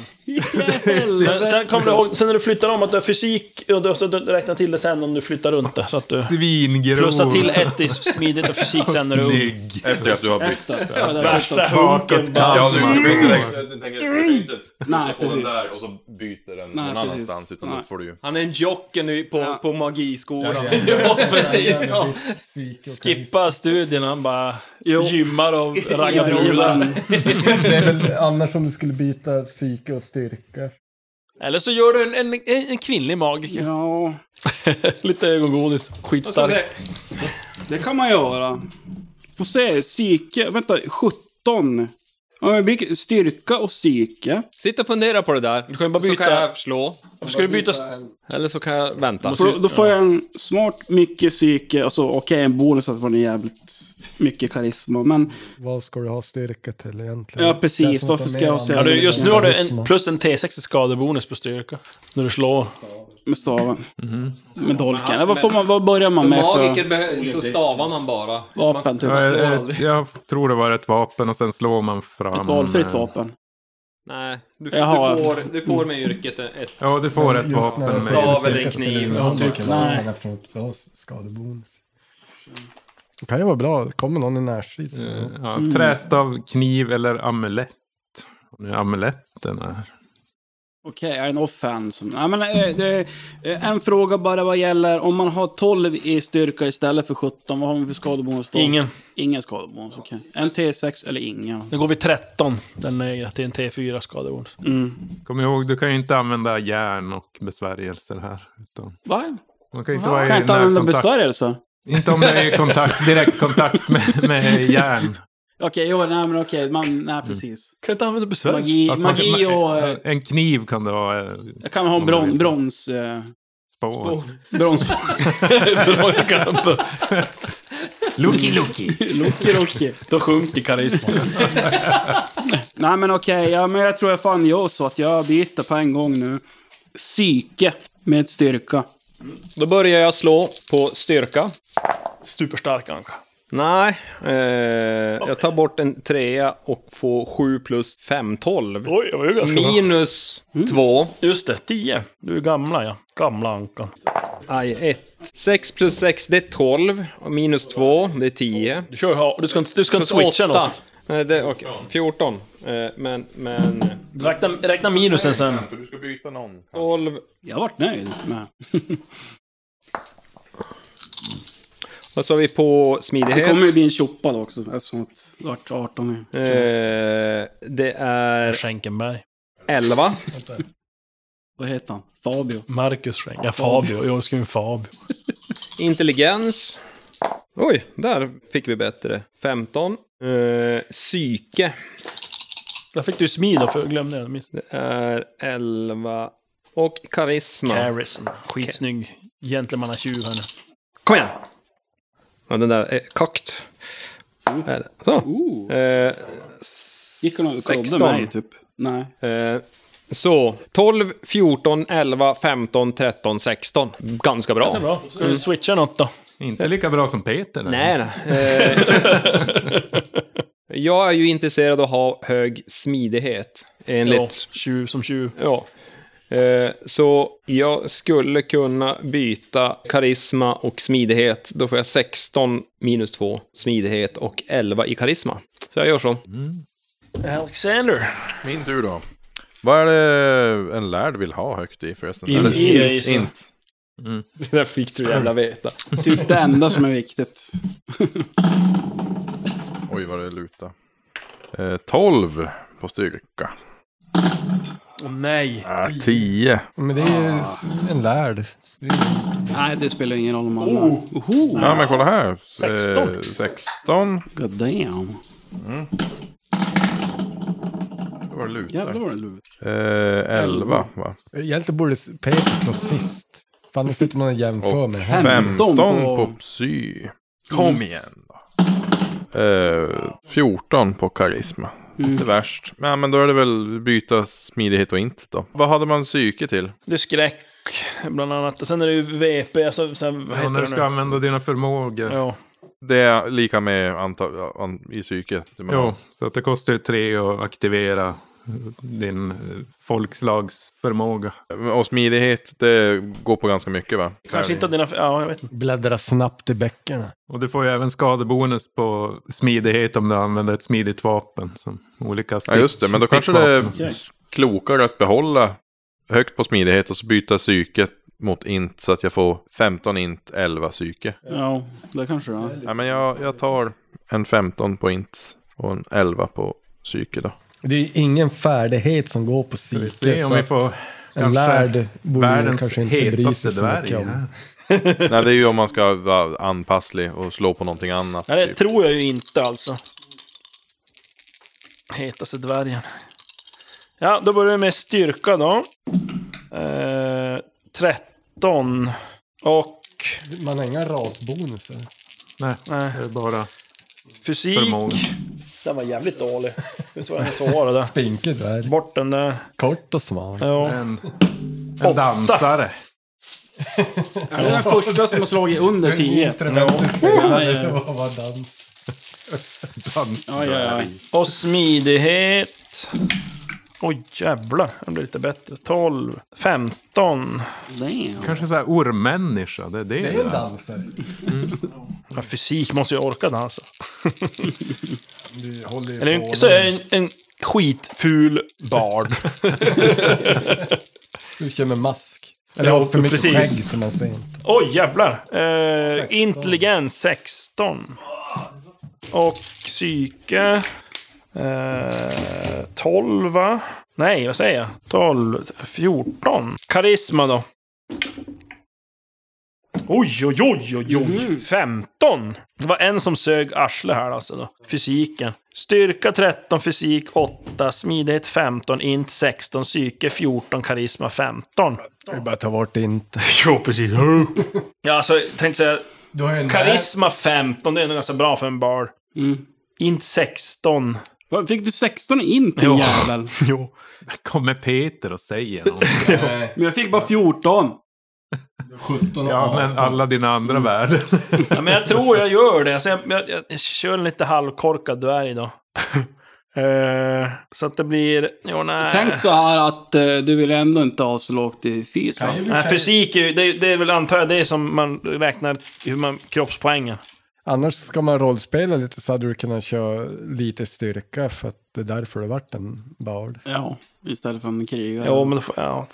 D: Men sen kommer du ihåg, sen när du flyttar om att du har fysik, och du, så du räknar till det sen om du flyttar runt det. Så att du
B: Svingrov.
D: plussar till ett i smidigt och fysik sen när du är ung.
B: Snygg.
I: Efter att du har bytt.
G: Ja, det var
D: Värsta
B: Bakåt
D: hunken bara.
I: Ja, du
B: kan
I: du
B: man.
I: tänker direkt- du tänker att du inte
G: Nej,
I: pussar på den
G: precis.
I: där och så byter den
G: Nej,
I: någon
G: precis.
I: annanstans. Utan då
G: Nej.
I: får du ju...
H: Han är en jocken i- på,
G: Ja.
H: på magiskolan. Ja, precis. Ja.
D: Skippa studierna, bara
G: Jo.
D: gymmar och raggar brudar.
G: Jajamän.
E: Det är väl annars om du skulle byta psyke och styrka.
D: Eller så gör du en, en, en kvinnlig magiker.
G: Ja,
D: Lite ögongodis. Skitstark.
G: det kan man göra. Får se, psyke. Vänta, 17. Ja, men vilken- Styrka och psyke.
H: Sitt och fundera på det där.
D: Du kan ju bara
H: Så
D: byta.
H: kan jag slå.
D: Ska du byta...
H: Eller så kan jag vänta.
G: Då, då får jag en smart mycket psyke. Alltså okej, en bonus att vara en jävligt mycket karisma. Men
E: Vad ska du ha styrka till egentligen?
G: Ja, precis.
E: Känns som att
G: Varför
E: det är
G: ska jag
E: mer
G: ha så
D: Ja, du, just nu har du en,
E: karisma.
D: plus en T6 i skadebonus på styrka. När du slår.
G: med staven.
B: Mm-hmm.
G: Med dolken. Ja, vad, får man, vad börjar man
H: Som
G: med
H: magiker
G: för
H: behö- så stavar man bara.
G: vapen? Typ.
B: Ja,
H: slår
B: jag-
H: aldrig.
B: Jag tror det var ett vapen och sen slår man fram...
G: Ett valfritt
B: eh,
G: vapen.
H: Nej, du, du,
G: Jaha.
H: får, du får med yrket ett...
B: Ja, du får ett
E: Just
B: vapen
E: när det
B: med...
E: står
H: stav
E: styrka
H: eller en
E: så spelar det
H: kniv.
E: ingen
H: Ja,
E: roll
H: typ.
E: vilken roll, men eftersom att vi har skadebonus. Det kan ju vara bra. Kommer någon i närstrid. så-
B: Ja, trästav, kniv eller amulett. Och Nu är amuletten här.
G: Okej, är det en offhand? Ja, men, eh, det, eh, en fråga bara vad gäller om man har 12 i styrka istället för 17. Vad har man för skadebonus då?
D: Ingen.
G: Ingen skadebonus, okej. En T6 eller ingen.
D: Nu går vi 13. Den är till en T4 skadebonus.
B: Mm.
G: Mm.
B: Kom ihåg, du kan ju inte använda järn och besvärjelser här. Utan
G: Va?
B: man kan ju inte
G: Kan
B: vara
G: jag
B: i
G: inte
B: nära
G: använda
B: kontakt.
G: besvärjelse?
B: Inte om det är i kontakt, direkt kontakt med, med järn.
G: Okej, jo, nej men okej. Man, nej, precis.
D: Kan inte använda besvär.
G: Magi,
B: Fast man kan-
G: magi och... eh,
B: En kniv kan det vara. eh,
G: Jag kan ha en
B: om du
G: bron,
B: vill.
G: brons... Eh,
B: Spår.
G: brons...
B: Lucky, lucky.
G: Loki, Loki.
D: Då sjunker karisman.
G: Nej men okej, ja, men jag tror jag fan gör så att jag byter på en gång nu. Psyke med styrka.
H: Då börjar jag slå på styrka.
D: Superstark Anka.
H: Nej, eh, jag tar bort en trea och får 7 plus 5, 12.
D: Oj, det var ju ganska bra.
H: Minus
G: Mm.
H: 2,
D: Just det, 10. Du är gamla ja. Gamla Anka.
H: aj 1. 6 plus 6, det är 12. Och minus 2, det är 10.
D: Du, kör, ha- du ska inte, du ska inte
H: Plus
D: switcha
H: 8.
D: något.
H: Nej, det, okay. 14. Eh, men, men...
D: Räkna, räkna minusen sen.
I: För du ska byta någon.
H: 12.
G: Jag vart nöjd med.
H: Vad sa vi på smidighet?
G: Det kommer ju bli en tjoppad också eftersom att det vart 18 nu.
H: Eh, det är
D: Schenkenberg.
H: 11.
G: Vad heter han? Fabio.
D: Marcus Schenken. Ja, Fabio. Jag ska ju en Fabio.
H: Intelligens. Oj, där fick vi bättre. 15. Eh, psyke.
D: Där fick du smida för jag glömde det. Minst.
H: Det är 11. Och karisma.
D: Harrison. Skitsnygg gentlemannatjuv här nu.
H: Kom igen! Ja, den där är kakt. Är det. Så. Eh,
G: Mm. Gick hon och kollade
H: 16.
G: mig typ? Nej.
H: Eh, så, 12, 14, 11, 15, 13, 16. Ganska bra.
D: Det är bra. Ska du switcha något då?
B: Inte lika bra som Peter.
H: Nej, nej. Eh, jag är ju intresserad av att ha hög smidighet,
D: Ja,
H: enligt...
D: tjuv som tjuv.
H: Ja. Eh, så jag skulle kunna byta karisma och smidighet. Då får jag 16 minus 2 smidighet och 11 i karisma. Så jag gör så.
D: Alexander.
F: Min tur då. Vad är det en lärd vill ha högt i förresten?
D: In-
F: Eller-
D: is.
F: Int.
H: Det där fick du jävla veta.
G: Typ det enda som är viktigt.
F: Oj vad det lutar. Eh, 12 på styrka.
D: Åh nej.
F: Ah, 10.
E: Men det är en lärd.
G: Nej, det spelar ingen roll om man... Oh.
F: Ja men kolla här. Eh,
D: 16.
F: 16.
G: God damn.
F: Det var det
G: Jävlar
F: lutar.
G: vad det lutar.
F: Eh, 11 va?
E: Egentligen borde Peter slå sist. För annars sitter man och jämför med det här.
F: 15
G: 15 på-
F: på psy. Kom igen då. Eh, 14 på karisma. Inte värst. Men, ja, men då är det väl byta smidighet och inte då. Vad hade man psyke till?
D: Det är skräck, bland annat. Och sen är det ju VP, alltså, sen, vad
B: Ja,
D: heter
B: när du ska
D: det nu?
B: använda dina förmågor.
D: Ja.
F: Det är lika med antal an, i psyke. det man har.
B: Jo, så att det kostar ju tre att aktivera eh, din eh, folkslagsförmåga.
F: Och smidighet, det går på ganska mycket va?
D: Kanske inte att dina... Ja, jag vet inte.
E: Bläddra snabbt i bäckarna.
B: Och du får ju även skadebonus på smidighet om du använder ett smidigt vapen. Som olika stick,
F: Ja just det, men då kanske det
B: stickvapen.
F: är klokare att behålla högt på smidighet och så byta psyket mot int så att jag får 15 int, 11 psyke.
G: Ja, det kanske det är.
F: Ja, men jag, jag tar en 15 på int och en 11 på psyke då.
E: Det är ju ingen färdighet som går på
B: Ska vi
E: psyke.
B: se om
E: Så
B: vi
E: att
B: får
E: en
B: kanske
E: lärd borde man
B: världens
E: kanske inte bry
B: hetaste
E: sig så
B: dvärg.
E: mycket om.
B: här.
F: Nej, det är ju om man ska vara anpasslig och slå på någonting annat.
D: Nej, det
F: typ.
D: tror jag ju inte alltså. Hetaste dvärgen. Ja, då börjar vi med styrka då. Eh, 13. Och...
E: Man har inga rasbonuser.
B: Nej,
D: Nej.
B: det är bara
D: Fysik.
B: förmåga.
D: Den var jävligt dålig. Nu såg jag den svåra där.
E: Spinkig dvärg.
D: Bort den där.
E: Kort och smal.
D: Ja.
B: En, en dansare.
G: Är det den första som har slagit under 10?
E: Instrumentet
D: Mm.
G: Ja, ja,
E: spelade
G: ja.
E: och var dans.
B: Dans.
G: Ja, ja, ja.
D: Och smidighet. Oj jävlar, den blir lite bättre. 12, 15.
G: Damn.
B: Kanske så här ormmänniska, det är det.
E: Det är en dansare.
D: Ja, fysik måste ju orka dansa.
E: Du håller
D: alltså.
E: ju
D: Eller
E: på
D: en, så är en, en skitful barn.
E: Du kör med mask.
D: Ja,
E: Eller har för mycket
D: precis.
E: skägg som man säger.
D: Oj, jävlar. Eh, intelligens 16. Och psyke... Eh, 12, va? Nej, vad säger jag? 12, 14. Karisma då. Oj, oj, oj, oj, oj. 15. Det var en som sög arsle här alltså då. Fysiken. Styrka 13, fysik 8, smidighet 15, int 16, psyke 14, karisma 15.
E: Vi bara ta bort inte.
D: Jo, precis. Ja, alltså, jag tänkte säga...
E: Du har ju en
D: Karisma 15, det är nog ganska bra för en bar.
G: Mm.
D: Int 16.
G: Vad, Fick du 16 in din
B: Jo.
G: jävel?
B: jo. Kommer Peter och säger något?
G: Men jag fick bara 14.
E: 17
B: ja, Mm. men alla dina andra värden.
D: Ja, men jag tror jag gör det. Alltså, jag, jag, jag, kör en lite halvkorkad dvärg idag. så att det blir... Jo, nej.
G: Tänk så här att eh, du vill ändå inte ha så lågt i fysen.
D: Nej, fysik är ju- det, det är väl antar jag det som man räknar hur man, kroppspoängen.
E: Annars ska man rollspela lite så hade du kunnat köra lite styrka för att det är därför det vart en bard.
G: Ja, istället för en krigare.
D: Jo, men då får, ja,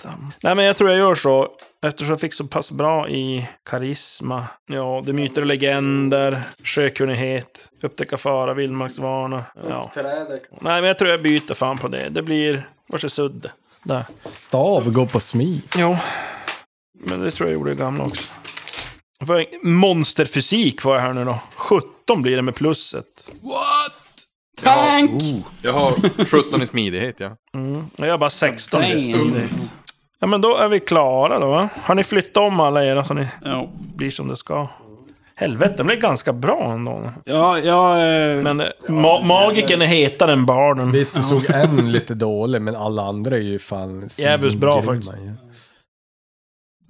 D: Nej, men jag tror jag gör så. Eftersom jag fick så pass bra i karisma. Ja, det är myter och legender, sjökunnighet, upptäcka fara, vildmarksvana. Ja. Nej, men jag tror jag byter fan på det. Det blir... Vars är Sudde? Där.
E: Stav går på smid.
D: Jo. Men det tror jag gjorde i gamla också. För monsterfysik var jag här nu då. 17 blir det med plusset.
G: What? Tank!
D: Oh.
F: Jag har 17 i smidighet, ja.
D: Mm. Och Jag har bara 16 i
G: Damn.
D: smidighet. Ja, men då är vi klara då. va? Har ni flyttat om alla era så ni
G: Ja.
D: blir som det ska? Helvete, det blev ganska bra ändå.
G: Ja, jag... eh,
D: Men eh, ma magiken är hetare än barnen.
E: Visst, det stod en lite dålig, men alla andra är ju fan
D: Jävligt bra
E: svingrymma
D: faktiskt.
E: ju.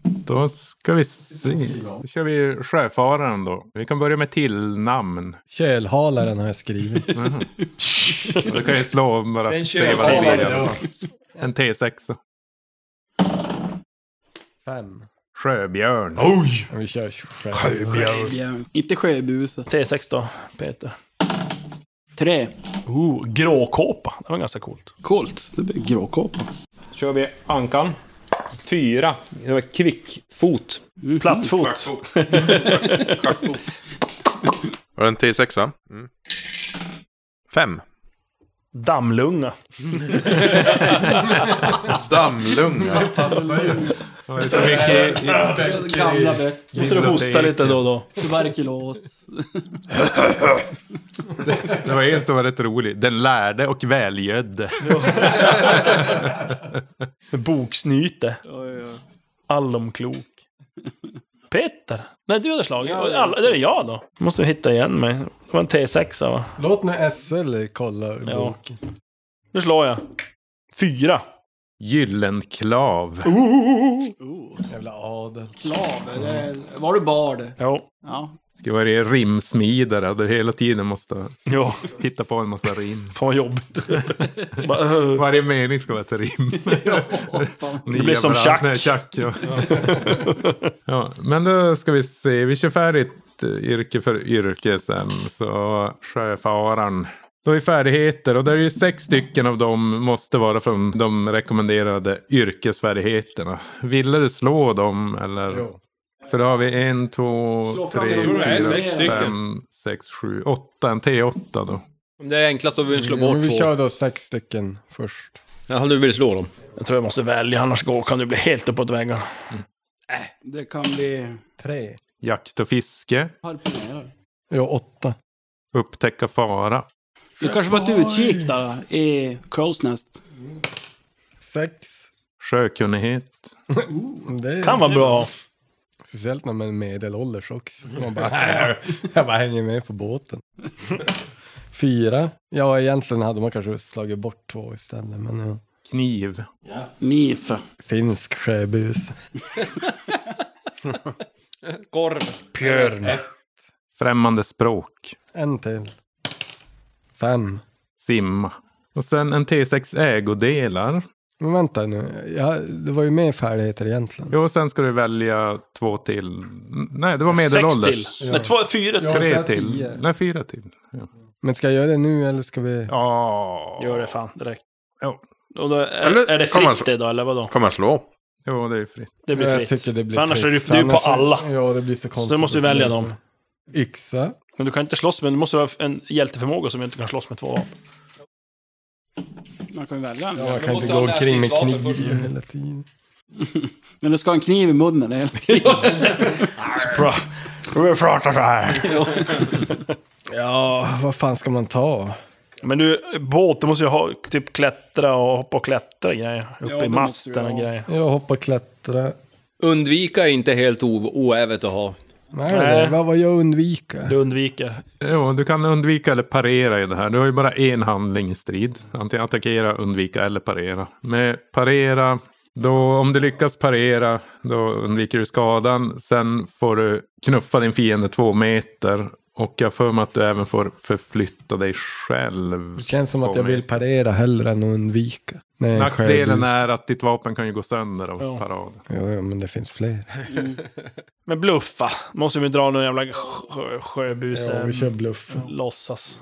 B: Då ska vi se. Då kör vi sjöfararen då. Vi kan börja med tillnamn.
E: Kölhalaren har jag skrivit.
B: Och Du kan ju slå om bara
J: Den
B: se vad det
J: kölhalaren,
B: blir. i alla fall. En T6.
E: Fem.
B: Sjöbjörn. Oj!
E: Ja, Vi kör själv.
G: Sjöbjörn. Inte sjöbuse.
D: T6 då, Peter.
G: Tre.
D: Oh, gråkåpa. Det var ganska coolt.
G: Coolt. Det blir gråkåpa.
H: kör vi ankan. Fyra. Det var kvickfot.
D: Plattfot.
F: Var det en T6, va? Mm. Fem.
D: Dammlunga.
F: Dammlunga.
B: Så mycket i- i-
G: Gamla böcker.
D: Måste du hosta lite då och då.
G: Tuberkulos.
B: det var en som var rätt rolig. Den lärde och välgödde.
D: Boksnyte. Allomklok. Peter? Nej, du hade slagit.
G: Ja, ja.
D: Alla, det är jag då. Måste hitta igen mig. Det var en T6 va?
E: Låt nu SL kolla
D: Ja.
E: boken.
D: Nu slår jag. Fyra.
B: Gyllenklav.
E: Jävla adel.
G: Klav. det- Var du bard?
D: Jo.
G: Ja.
B: Ska vara rimsmidare. Du hela tiden måste
D: Jo.
B: hitta på en massa rim.
D: Fan vad jobbigt. Bara, eh,
B: Varje mening ska vara ett rim.
D: Det blir som
B: Nya brand-
D: Chuck.
B: Nej, Chuck, ja. ja, men då ska vi se. Vi kör färdigt eh, yrke för yrke sen. Så sjöfararen. Då är färdigheter och där är ju sex stycken av dem måste vara från de rekommenderade yrkesfärdigheterna. Ville du slå dem eller?
E: Jo.
B: Så då har vi en, två,
G: Slå fram
B: tre,
G: dem. Det är
B: fyra,
G: sex
B: fem, sex, sju, åtta. En T8 då.
H: Om det är enklast så vill vi slå
E: Ja, men
H: bort
E: vi
H: två.
E: kör då sex stycken först.
H: Ja, du vill slå dem.
D: Jag tror jag måste välja, annars går, kan du bli helt uppåt väggarna.
G: Det kan bli...
E: Tre.
B: Jakt och fiske.
G: Harponerar.
E: Jo, åtta.
B: Upptäcka fara.
G: Det kanske var ett utkik där i Crow's Nest.
E: Sex.
B: Sjökunnighet.
E: Det är
D: Kan vara bra.
E: speciellt när man är medelålders också. Man bara, jag bara hänger med på båten. Fyra. Ja, egentligen hade man kanske slagit bort två istället, men ja.
B: Kniv.
G: Nif.
E: Finsk sjöbus.
H: Korv.
B: Främmande språk.
E: En till. Fem.
B: Simma. Och sen en T6 ägodelar.
E: Men vänta nu, ja, det var ju mer färdigheter egentligen.
B: Jo, och sen ska du välja två till. Nej, det var
D: Sex
B: medelålders.
D: till. Nej, två, fyra.
E: Ja.
D: till.
E: så
B: Tre
E: här
B: till.
E: tio.
B: Nej, fyra till. Ja.
E: Men ska jag göra det nu eller ska vi?
D: Ja. Gör det fan direkt.
B: Ja.
D: Och då är,
F: Eller-
D: är det
F: kan man
D: fritt det då, eller vadå?
F: Kommer han slå?
B: Jo, det är fritt.
D: Det blir
E: alltså. jag
D: fritt.
E: tycker det blir
D: För annars är
E: fritt.
D: det- det är ju på
E: Annars är-
D: alla.
E: Ja, det blir så konstigt.
D: Så du måste ju
E: att
D: välja
E: slå.
D: dem.
E: Yxa.
D: Men du kan inte slåss med, du måste ha en hjälteförmåga som inte kan slåss med två vapen.
G: Man kan ju välja.
E: Ja, man
G: Då
E: kan
G: måste
E: inte
G: ha
E: gå omkring med
G: närstridsvapen först.
E: kniv hela tiden.
G: Men du ska ha en kniv i munnen hela tiden.
D: Vi pratar så här.
E: Ja, vad fan ska man ta?
D: Men du, båt, du måste ju ha typ klättra och hoppa och klättra grejer. Uppe
G: det
D: i
G: måste
D: masten
G: du
D: och
G: ha.
D: grejer.
E: Jag hoppar klättra.
H: Undvika är inte helt o- oävet att ha.
E: Nej,
D: Nej.
E: Det, vad, vad jag undviker?
D: Du undviker.
B: Jo, du kan undvika eller parera i det här. Du har ju bara en handling i strid. Antingen attackera, undvika eller parera. Med parera, då, om du lyckas parera, då undviker du skadan. Sen får du knuffa din fiende två meter. Och jag har för mig att du även får förflytta dig själv.
E: Det känns som
B: två
E: att jag vill
B: meter.
E: parera hellre än att undvika. Nej, en
B: Nackdelen
E: skärbus.
B: är att ditt vapen kan ju gå sönder av
D: Ja.
B: parad.
E: Ja, ja, men det finns fler.
D: Men bluffa. Måste vi dra någon jävla sjö- sjöbuse.
E: Ja, vi kör bluff.
D: Låtsas.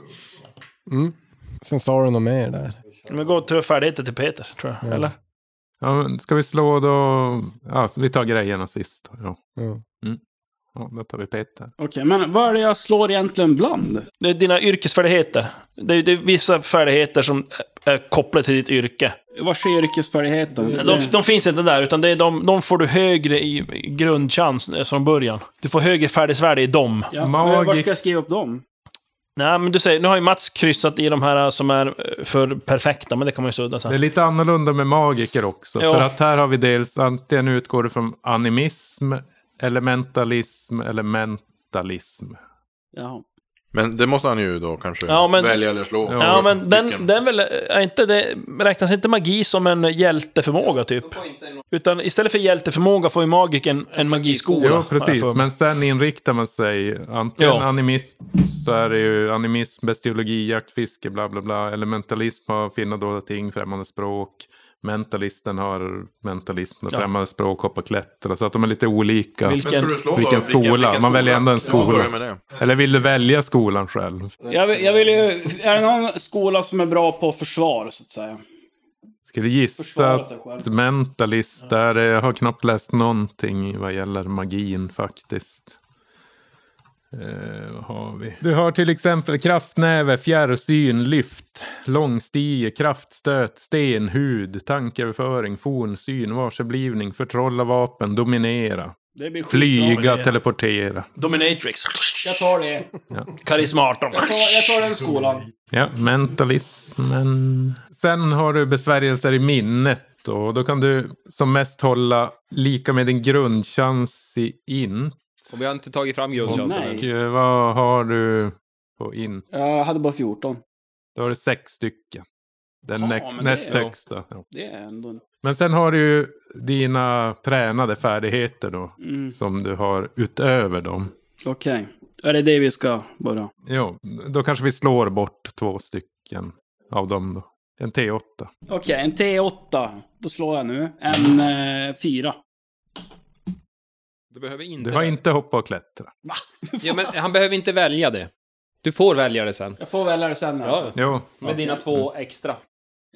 E: Mm. Sen sa du något mer där.
D: Men gå och truffa färdigheten till Peter, tror jag.
E: Ja.
D: Eller?
B: Ja, men ska vi slå då? Ja, så vi tar grejerna sist. Ja, Mm.
E: Ja.
B: ja då tar vi Peter.
G: Okej, men vad är det jag slår egentligen bland?
D: Det är dina yrkesfärdigheter. Det är, det är vissa färdigheter som är kopplade till ditt yrke.
G: Vad är yrkesfärdigheten?
D: De,
B: Mm.
D: de finns inte där, utan det är de, de får du högre i i grundchans eh, från början. Du får högre färdighetsvärde i dem.
G: Ja,
B: Magi-
G: men Var ska jag skriva upp dem?
D: Nej, men du säger, nu har ju Mats kryssat i de här som är eh, för perfekta, men det kan man ju sudda
B: Det är
D: sen.
B: lite annorlunda med magiker också.
D: Ja.
B: För att här har vi dels antingen utgår det från animism, elementalism eller mentalism.
D: Oh
G: Ja.
F: Men det måste han ju då kanske
D: Ja, men-
F: välja eller slå.
D: Ja, men
F: Vilken?
D: den, den väl, är inte det, räknas inte magi som en hjälteförmåga typ? Utan istället för hjälteförmåga får ju magikern en magiskola.
B: Jo,
D: har jag
B: precis.
D: för mig.
B: Men sen inriktar man sig. Antingen
D: Ja.
B: animist så är det ju animism, bestiologi, jakt, fiske, bla bla bla. Elementalism har finna dolda ting, främmande språk. Mentalisten har mentalism, då,
D: Ja.
B: främmande språk, hoppa, klättra. Så att de är lite olika.
D: Vilken-
F: Ska du slå då?
B: Vilken skola? Man väljer ändå en
F: Ja,
B: skola.
F: börja med det.
B: Eller vill du välja skolan själv?
G: Jag, vill- jag vill ju... Är det någon skola som är bra på försvar, så att säga?
B: Skulle
G: Försvara
B: gissa
G: sig själv.
B: att mentalist där, eh, jag har knappt läst någonting vad gäller magin faktiskt. Eh, vad har vi? Du har till exempel kraftnäve, fjärrsyn, lyft, långstige, kraftstöt, stenhud, tankeöverföring, fornsyn, varseblivning, förtrolla vapen, dominera,
G: Det blir skitbra.
B: flyga,
D: det.
B: teleportera.
D: Dominatrix.
G: Jag tar det.
D: Karisma 18.
G: Jag tar, jag tar den skolan.
B: Ja, mentalismen. Sen har du besvärjelser i minnet. Och då kan du som mest hålla lika med din grundchans i int.
H: Och vi har inte tagit fram
G: Åh,
H: grundchansen.
G: nej.
H: än.
B: Och eh, vad har du på int?
G: Jag hade bara 14.
B: Då har du sex stycken. Den
G: Ja,
B: näst,
G: men det-
B: näst högsta. Ja.
G: Det är ändå... en-
B: Men sen har du ju dina tränade färdigheter då.
G: Mm.
B: Som du har utöver dem.
G: Okej. Är det det vi ska börja?
B: Jo, då kanske vi slår bort två stycken av dem då. En T8.
G: Okej, en T8. Då slår jag nu. En eh, fyra.
H: Du behöver inte...
B: Du har inte hoppat och klättra.
H: Ja, men han behöver inte välja det. Du får välja det sen.
G: Jag får välja det sen.
H: Ja,
B: Jo,
H: med dina två extra.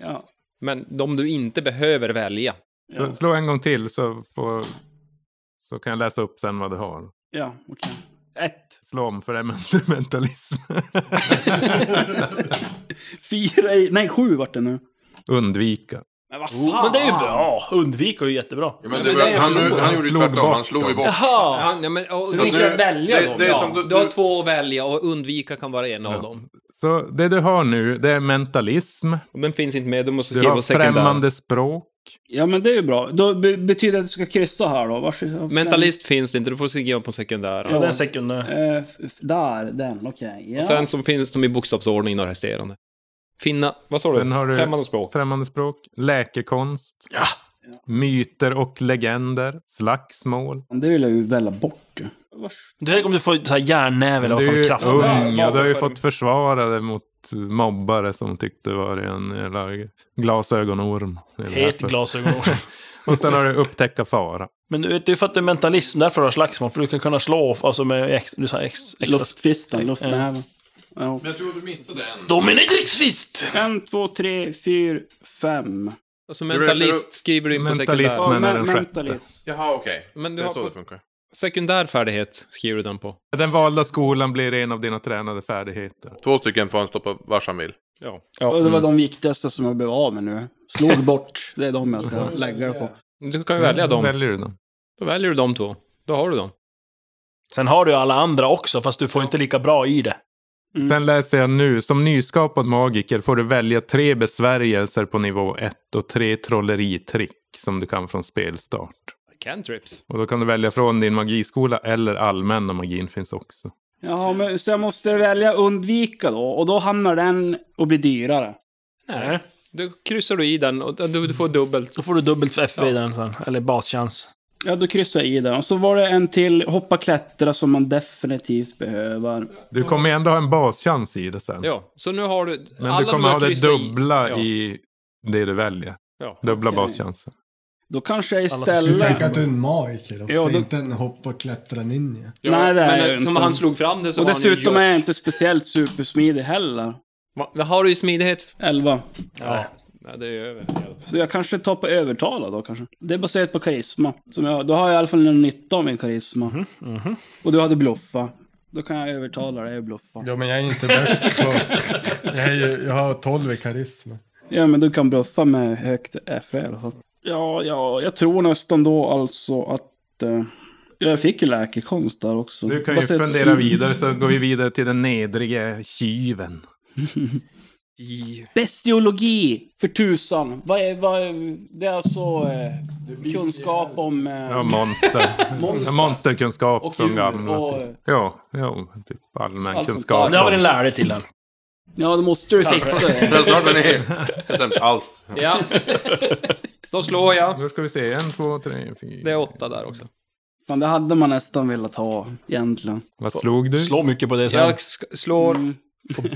G: ja.
H: Men de du inte behöver välja.
B: Så slå en gång till så, får, så kan jag läsa upp sen vad du har.
G: Ja, okej. Ett.
B: Slå om för det är ment- mentalism.
G: Fyra i... Nej, sju vart det nu.
B: Undvika.
G: Men vad fan!
D: Men det är ju bra. Undvik är ju jättebra.
F: Ja, men
H: Men
F: det
H: det är
F: var, han,
H: förlorad.
F: han,
B: Han
F: gjorde ju
B: slog
F: tvärtom. Han
B: bort
F: slog ju
B: dem.
F: bort.
D: Jaha!
H: Han, ja, men, och, så
F: att
H: du
F: du-
H: kan välja
F: det-
H: dem.
F: det är
H: ja.
F: som
H: du,
F: du-
H: har
F: du-
H: två att välja och undvika kan vara en av
B: Ja.
H: dem.
B: Så det du har nu, det är mentalism.
H: Den finns inte med, du måste
B: Du har främmande språk.
G: Ja, men det är ju bra. Då be- betyder det att du ska kryssa här då. Varsågod.
H: Mentalist finns det inte, du får skriva på sekundära.
D: Ja, den sekundär.
G: Eh, f- f- där, den. Okej. Ja.
H: Och sen så finns de i bokstavsordning och resterande. Finna... Vad sa
B: Sen har du-
H: Främmande språk.
B: Främmande språk. Läkekonst.
D: Ja.
B: Myter och legender. Slagsmål.
G: Det vill jag ju välja bort. ju. Vars-
D: Du tänk om du får så här järnnäve eller vad
B: du
D: fan
B: är ju
D: kraft.
B: ung
H: Ja,
B: och du har ju
H: för-
B: fått försvara dig mot mobbare som tyckte var en jävla glasögonorm. Det är
D: Het
B: därför.
D: glasögon.
B: Och sen har du upptäcka fara.
D: Men du vet, det är ju för att du är mentalism, därför har du slagsmål. För du kan kunna slå alltså med ex, du sa ex, extra...
G: Luftfisten, luftnäven. Ja.
I: Men jag tror du missade en.
G: Dominatrixfist! En, två, tre, fyra, fem.
H: Alltså mentalist skriver du in på sekundär.
B: Mentalismen är den sjätte.
I: Jaha, okej.
H: Men
I: Det
H: du
I: är
H: har
I: så
H: på
I: det funkar.
H: sekundär färdighet skriver du den på.
B: Den valda skolan blir en av dina tränade färdigheter.
F: Två stycken får han stoppa vars han vill.
H: Ja. Mm.
K: Och det var de viktigaste som jag blev av med nu. Slog bort, det är de jag ska lägga det på.
H: Du kan ju välja dem.
B: Väljer du dem?
H: Då väljer du de två. Då har du dem.
D: Sen har du ju alla andra också, fast du får inte lika bra i det.
B: Sen läser jag nu. Som nyskapad magiker får du välja tre besvärjelser på nivå 1 och tre trolleritrick som du kan från spelstart.
H: Cantrips.
B: Och då kan du välja från din magiskola eller allmänna magin finns också.
G: Jaha, men så jag måste välja undvika då. Och då hamnar den och blir dyrare.
H: Nej. Då kryssar du i den och du, du får dubbelt.
D: Då får du dubbelt F i den sen, eller baschans.
G: Ja, då kryssar jag i den. Och så var det en till hoppa klättra som man definitivt behöver.
B: Du kommer ju ändå ha en baschans i det sen.
H: Ja, så nu har du...
B: Men
H: alla
B: du kommer ha
H: har
B: det
H: kryssat i.
B: dubbla
H: Ja.
B: i det du väljer.
H: Ja.
B: Dubbla
G: Okej.
B: baschansen.
G: Då kanske jag
E: Alla skulle tänka
G: istället...
E: att du är en magiker också,
G: Ja, då-
E: inte en hopp och klättra ninja.
G: Ja, Nej, det är
H: men
G: jag
H: som
G: inte.
H: han slog fram det så
G: Och
H: var han ju
G: dessutom är jag
H: jock.
G: inte speciellt supersmidig heller.
H: Va- Vad har du i smidighet?
G: 11.
H: Ja. Nej, det är ju över.
G: Så jag kanske tar på övertala då kanske. Det är baserat på karisma. Som jag, då har jag i alla fall en nytta av min karisma.
B: Mhm,
G: Och du hade bluffa. Då kan jag övertala dig att bluffa.
E: Ja, men jag är inte bäst på... Jag, är ju, jag har 12 i karisma.
G: Ja, men du kan bluffa med högt FE i alla fall. Ja, ja, jag tror nästan då alltså att... Eh, jag fick ju läkekonst där också.
B: Du kan ju
G: Baserat-
B: fundera vidare så går vi vidare till den nedrige kyven.
G: Bestiologi, för tusan. Vad är, vad är, det är alltså eh, kunskap om... Eh,
B: Ja, monster.
G: Monster.
B: Monsterkunskap
G: Och
B: från
G: djur
B: gamla.
G: och-
B: typ. Ja, ja, typ allmän
G: Allt sånt
B: kunskap.
G: där. Det har väl en
D: lärare till den.
G: ja, det måste du fixa.
F: Men snart är ni bestämt allt.
H: Ja. Då slår jag.
B: Nu ska vi se. En, två, tre, fyra.
H: Det är åtta där också.
G: Fan, det hade man nästan velat ha egentligen.
B: Vad slog du?
D: Slå mycket på det sen.
H: Jag sk- slår...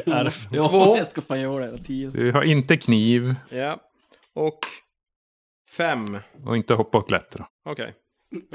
D: Ärf.
G: Ja,
H: Två.
G: jag ska fan göra det hela tiden.
B: Du har inte kniv
H: Ja. Och... Fem.
B: och inte hoppa och klättra.
H: Okej.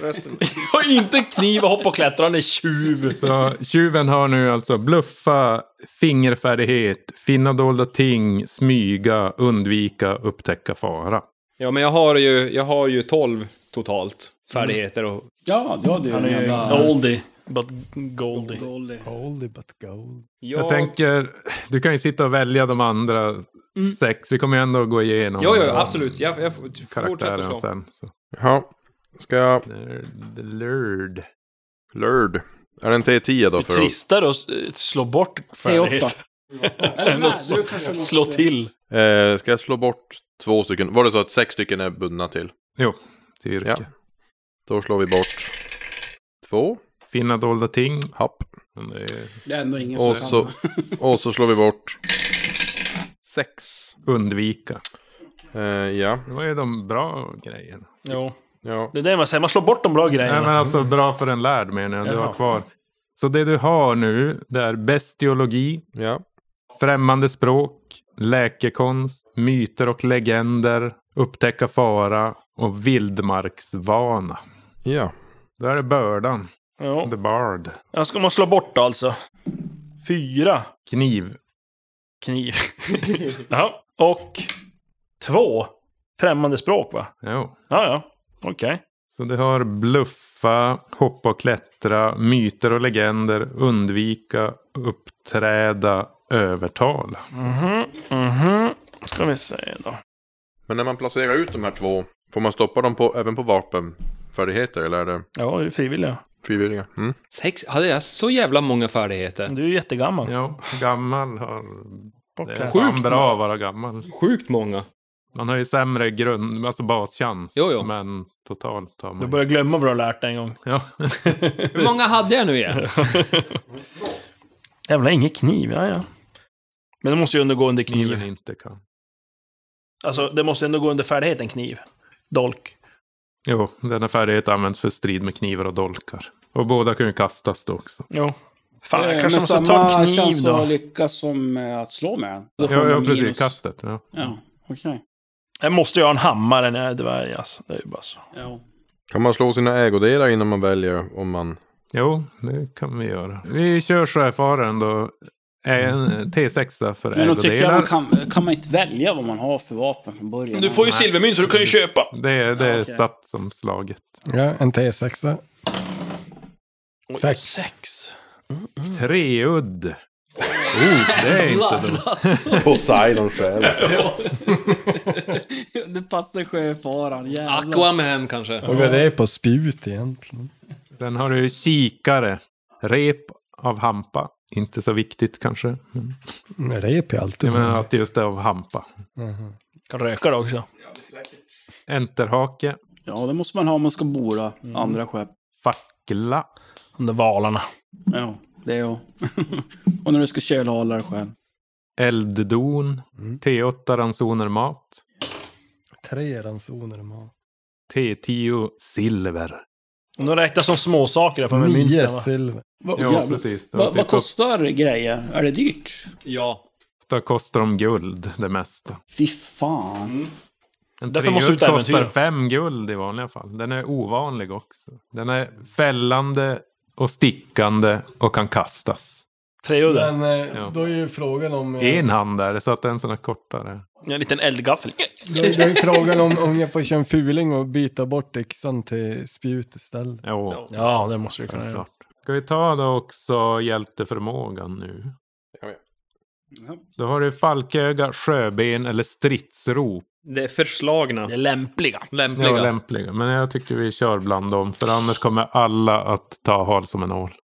H: Resten.
D: Jag har inte kniv och hopp och klättra, han är tjuv.
B: Så tjuven har nu alltså bluffa, fingerfärdighet, finna dolda ting, smyga, undvika, upptäcka fara.
H: Ja, men jag har ju, jag har ju 12 totalt färdigheter
B: Mm.
H: och...
G: Ja, du hade ju
D: Han är ju
G: en jävla...
D: oldie, but goldie.
G: Dolly.
E: Holy but gold.
H: Jag,
B: Jag tänker, du kan ju sitta och välja de andra
G: Mm.
B: sex. Vi kommer ju ändå gå igenom
H: Jo, jo,
B: de
H: absolut. Jag, jag fortsätter
B: karaktärerna
H: slå.
B: sen. Så.
F: Jaha. Ska jag...
B: Nerd, The Lurd.
F: Lurd. Är det en T10 då
D: Det är
F: för att...
D: tristare att s- eh, slå bort
G: T8.
D: färdighet. Än
G: nej,
D: att
G: du
D: slå,
G: kanske måste-
D: slå till.
F: Eh, ska jag slå bort två stycken? Var det så att sex stycken är bundna till?
B: till yrke.
F: Ja. Då slår vi bort två.
B: Finna dolda ting.
F: Happ.
B: Men det är
G: Det är ändå ingen
F: Och
G: som
F: så, och så slår vi bort sex.
B: Undvika.
F: Eh, ja.
B: Det var ju de bra grejerna.
D: Jo.
F: ja.
D: Det är det man säger, man slår bort de bra
B: Nej, men
D: grejerna.
B: alltså bra för en lärd menar jag. Du har
D: Jaha.
B: kvar. Så det du har nu, det är bestiologi,
F: Ja.
B: främmande språk, läkekonst, myter och legender, upptäcka fara och vildmarksvana.
F: Ja.
B: Då är det bördan,
D: Jo.
B: the bard.
D: Ja, ska man slå bort alltså? Fyra
B: Kniv,
D: kniv. ja. Och två främmande språk va?
B: jo.
D: Ja, ja. Okej.
B: Så du har bluffa, hoppa och klättra, myter och legender, undvika, uppträda, övertala.
D: Mhm, mhm. Ska vi se då.
F: Men när man placerar ut de här två, får man stoppa dem på, även på vapenfärdigheter eller är det
D: Ja, du är frivillig.
F: frivilliga? Mm.
H: Sex? Hade jag så jävla många färdigheter?
D: Du är ju jättegammal.
B: Jo, gammal har... Det är
D: Bortklädd.
B: fan bra att vara gammal.
H: Sjukt många.
B: Man har ju sämre grund, alltså baschans.
H: Jo, jo.
B: Men totalt har
D: Du
B: man ju...
D: börjar glömma vad du har lärt dig en gång.
B: Ja.
H: Hur många hade jag nu igen?
D: Jävlar, ingen kniv. Ja, ja. Men det måste ju undergå under
B: Kniven
D: kniv.
B: inte kan.
D: Alltså, det måste ändå gå under färdigheten kniv. Dolk.
B: Jo, denna färdighet används för strid med knivar och dolkar. Och båda kan ju kastas då också.
D: Jo. Fan, jag
G: Eh,
D: kanske
G: men
D: måste
G: samma
D: ta kniv
G: chans att
D: då.
G: lyckas som eh, att slå med. Då får
B: Ja,
G: man
B: ja precis.
G: minus.
B: Kastet. Ja.
G: Ja, okej.
D: Jag måste ju ha en hammare när jag är dvärg alltså. Det är ju bara så.
G: Ja.
F: Kan man slå sina ägodelar innan man väljer om man...
B: Jo, det kan vi göra. Vi kör sjöfaren då. En T6 för
G: Men då tycker jag
B: ägodelar.
G: man kan, kan man inte välja vad man har för vapen från början.
D: Du får ju silvermynt så du kan ju köpa.
B: Det, är- det är
G: okej.
B: satt som slaget.
E: Ja, en T6. Sex.
D: Sex.
G: Mm.
B: Treudd. Oh, det är inte dumt.
I: Poseidon själv.
G: Ja. det passar sjöfaran, jävlar.
H: Aquaman kanske.
E: Och vad det är på spjut egentligen.
B: Sen har du kikare. Rep av hampa. Inte så viktigt kanske.
G: Mm.
B: Men
E: Men Rep är alltid
B: Jag
E: bra.
B: menar att just det av hampa.
E: Mhm.
D: Kan röka då också.
B: Enterhake.
G: Ja, det måste man ha om man ska borda andra skepp.
B: Fackla.
D: De där valarna.
G: Ja, det är jag. och när du ska kölhala dig själv.
B: Elddon.
G: Mm.
B: T8 ransoner mat.
E: Tre ransoner de har.
B: T10 silver.
D: Och de räknas som småsaker för med
B: Nio
D: mynten va?
E: silver.
G: Va,
B: Ja,
G: jävlar.
B: precis. Det var
G: Va, vad
B: typ
G: kostar grejer? Är det dyrt? Ja.
B: Ofta kostar de guld, det mesta.
G: Fy
I: Mm.
G: fan.
B: En
G: Därför måste
B: treudd
G: du ut
B: kostar
G: äventyra.
B: fem guld i vanliga fall. Den är ovanlig också. Den är fällande och stickande och kan kastas.
D: Treudden.
E: Men eh,
B: Ja.
E: då är ju frågan om...
D: Mm.
E: eh,
B: En hand är det, så att den som är kortare.
D: En liten eldgaffel.
E: Då, då är frågan om, om jag får köra en fuling och byta bort yxan till spjut istället.
B: Jo.
D: Ja, det måste du kunna göra.
B: Ska vi ta då också hjälteförmågan nu? Då har du falköga, sjöben eller stridsrop.
H: Det är förslagna. Det är
D: lämpliga.
H: Lämpliga.
B: Ja, lämpliga. Men jag tycker vi kör bland dem, för annars kommer alla att ta hal som en ål. Typ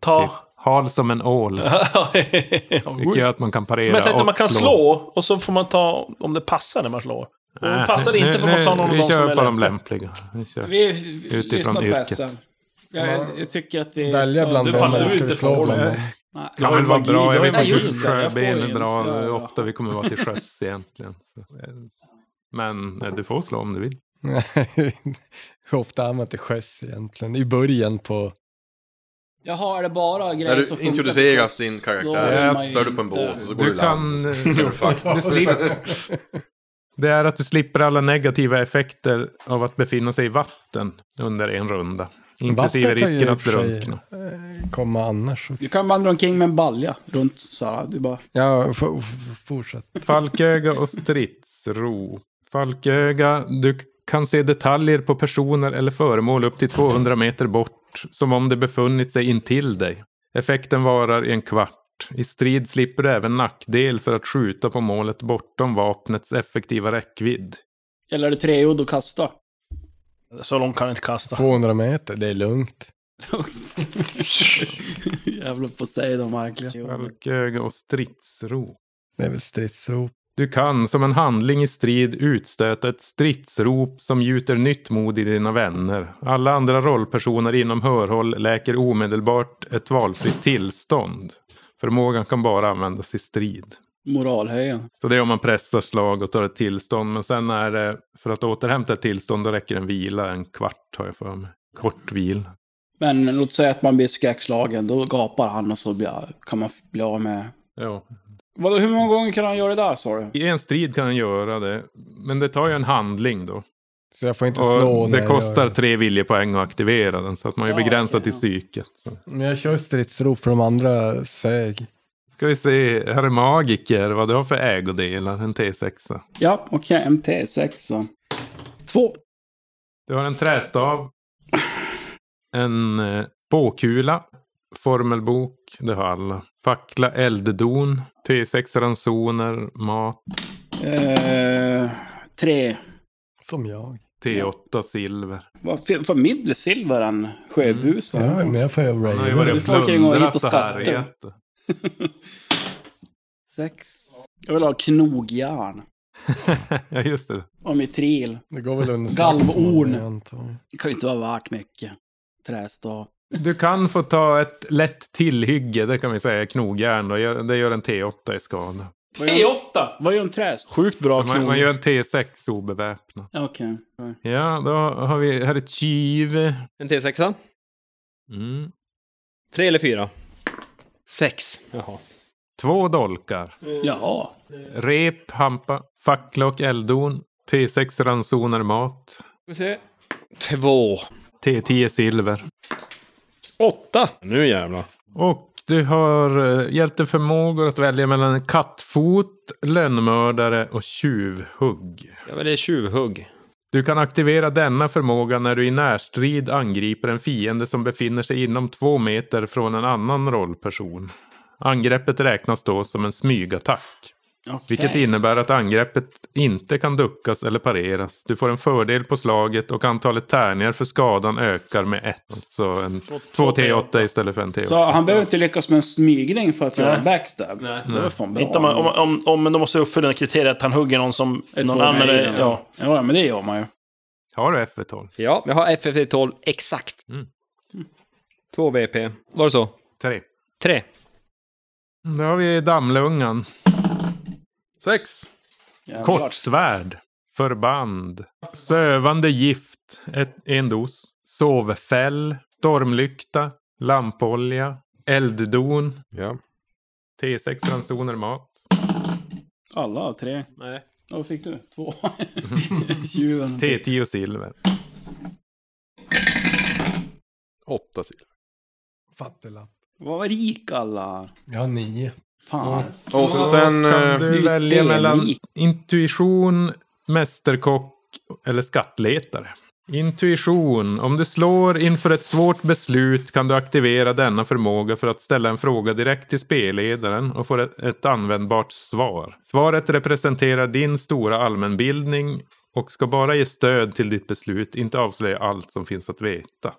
D: Ta.
B: Hal som en ål. Vilket gör att man kan parera
D: Men jag tänkte
B: och
D: man kan
B: slå.
D: slå och så får man ta om det passar när man slår. Och
B: Nej,
D: passar det inte
B: nu-
D: får man ta
B: nu-
D: någon av
B: vi
D: dem som
B: kör
D: är
B: på de
D: lämpliga.
B: lämpliga. Vi kör
G: Vi, lyssnar
B: utifrån
G: på
B: yrket.
G: SM. Jag, jag tycker att vi
E: Välja
G: ska-
E: bland
G: Du
E: dem
G: fattar
E: eller
G: ju
E: ska
G: inte
E: vi slå
G: förhållandet.
E: bland dem?
G: Nej.
B: Det kan väl vara bra. Jag vet
G: Nej,
B: inte
G: just
B: hur
G: det, jag får ju
B: sjöben är
G: en
B: bra.
G: slö,
B: Hur
G: ja.
B: ofta vi kommer vara till sjöss egentligen. Så. eh, Men eh, du får slå om du vill.
E: Hur ofta är man till sjöss egentligen? I början på...
G: Jaha, är det bara grejer
I: När du
G: som funkar
I: introduceras
G: till oss,
I: din
G: då
I: karaktär
G: vill man ju
I: så är du på en
G: inte-
I: båt och så går
B: Du
I: du i
B: kan...
I: land. Så är du fucked.
B: du slipper- Det är att du slipper alla negativa effekter av att befinna sig i vatten under en runda. Inklusive
E: Vatten kan ju
B: risken
E: i och
B: att
E: för sig,
B: drunkna.
E: eh, Komma annars.
G: Du kan vandra omkring med en balja runt så här. Du bara...
E: Ja, f- f- fortsätt.
B: Falköga och stridsro. Falköga, du kan se detaljer på personer eller föremål upp till 200 meter bort, som om de befunnit sig intill dig. Effekten varar i en kvart. I strid slipper du även nackdel för att skjuta på målet bortom vapnets effektiva räckvidd.
G: Eller är det treudd och kasta?
D: Så långt kan jag inte kasta.
E: 200 meter, det är lugnt.
G: Jävla Poseidon verkligen.
B: Falköga och stridsro.
E: Det är väl stridsrop.
B: Du kan som en handling i strid utstöta ett stridsrop som gjuter nytt mod i dina vänner. Alla andra rollpersoner inom hörhåll läker omedelbart ett valfritt tillstånd. Förmågan kan bara användas i strid.
G: Moralhöjen.
B: Så det är om man pressar slag och tar ett tillstånd. Men sen är det, för att återhämta ett tillstånd, då räcker en vila, en kvart har jag för mig. Kort vila.
G: Men låt säga att man blir skräckslagen, då gapar han och så blir, kan man bli av med...
B: Ja.
G: Vadå, hur många gånger kan han göra det där sa du?
B: I en strid kan den göra det, men det tar ju en handling då.
E: Så jag får inte slå
B: Och
E: när
B: det
E: jag
B: kostar
E: gör
B: tre viljepoäng att aktivera den, så att man är begränsad till psyket. Så.
E: Men jag kör stridsrop för de andra säg.
B: Ska vi se, här är magiker, vad du har för ägodelar, en T6.
G: Ja, okej. MT6 så. Två.
B: Du har en trästav, en eh, båkula, formelbok, det har alla. Fackla, elddon, T6 ransoner, mat,
G: Eh, tre.
E: Som jag.
B: T8 silver.
G: Vad för, för mindre silver än sjöbusen?
D: Mm,
E: Ja, men jag får ju
B: Han har ju
E: raida.
B: varit och
G: Du får omkring och hitta
B: plundrat det här.
G: skatter.
B: vet du.
G: Sex. Jag vill ha knogjärn.
B: Ja, just det.
G: Och mitril.
E: Det går väl under
G: Galvorn.
E: slagsmål, antar
G: Det kan ju inte vara värt mycket. Trästav.
B: Du kan få ta ett lätt tillhygge, det kan vi säga, knogjärn. då. Gör- Det gör en T8 i skada.
G: T8! Vad är en träst?
D: Sjukt bra
B: Man, man
D: knog.
B: gör en T6 obeväpnad.
G: Okej.
B: Ja, då har vi, här är Chiv.
H: En T6?
B: Mm.
H: Tre eller fyra? Sex. Jaha.
B: Två dolkar.
G: Jaha.
B: Rep, hampa, fackla och elddon. T6 ransoner mat.
H: Vi se. Två.
B: T10 silver.
H: Åtta. Nu jävlar.
B: Och Du har eh, hjälteförmågor att välja mellan en kattfot, lönnmördare och tjuvhugg.
H: Ja, men det är tjuvhugg.
B: Du kan aktivera denna förmåga när du i närstrid angriper en fiende som befinner sig inom två meter från en annan rollperson. Angreppet räknas då som en smygattack. Vilket innebär att angreppet inte kan duckas eller pareras. Du får en fördel på slaget och antalet tärningar för skadan ökar med ett. Alltså en 2 T8 istället för en T8.
G: Så han behöver inte lyckas med en smygning för att göra
D: Nej.
G: en backstab. Nej. Det var fan bra.
D: Inte om, man- om, om, om, men då måste jag uppfylla kriteriet att han hugger någon som... någon annan... eller- Ja.
G: ja, men det gör man ju.
B: Har du FF12?
H: Ja, jag har FF12 exakt. Mm. Två VP. Var det så?
B: Tre.
H: Tre.
B: Då har vi Dammlungan.
F: Sex.
B: Kortsvärd. Förband. Sövande gift. Ett, en dos. Sovfäll. Stormlykta. Lampolja. Elddon.
F: Ja.
B: T6 ransoner mat.
G: Alla av tre.
H: Nej.
G: Ja, Vad fick du? Två? Tjuven.
B: T10 silver.
F: Åtta silver.
E: Fattelapp.
G: Vad var rik alla.
E: Ja, nio.
G: Fan.
F: Och så sen... eh,
B: Kan du välja mellan intuition, mästerkock eller skattletare? Intuition. Om du slår inför ett svårt beslut kan du aktivera denna förmåga för att ställa en fråga direkt till spelledaren och få ett, ett användbart svar. Svaret representerar din stora allmänbildning och ska bara ge stöd till ditt beslut, inte avslöja allt som finns att veta.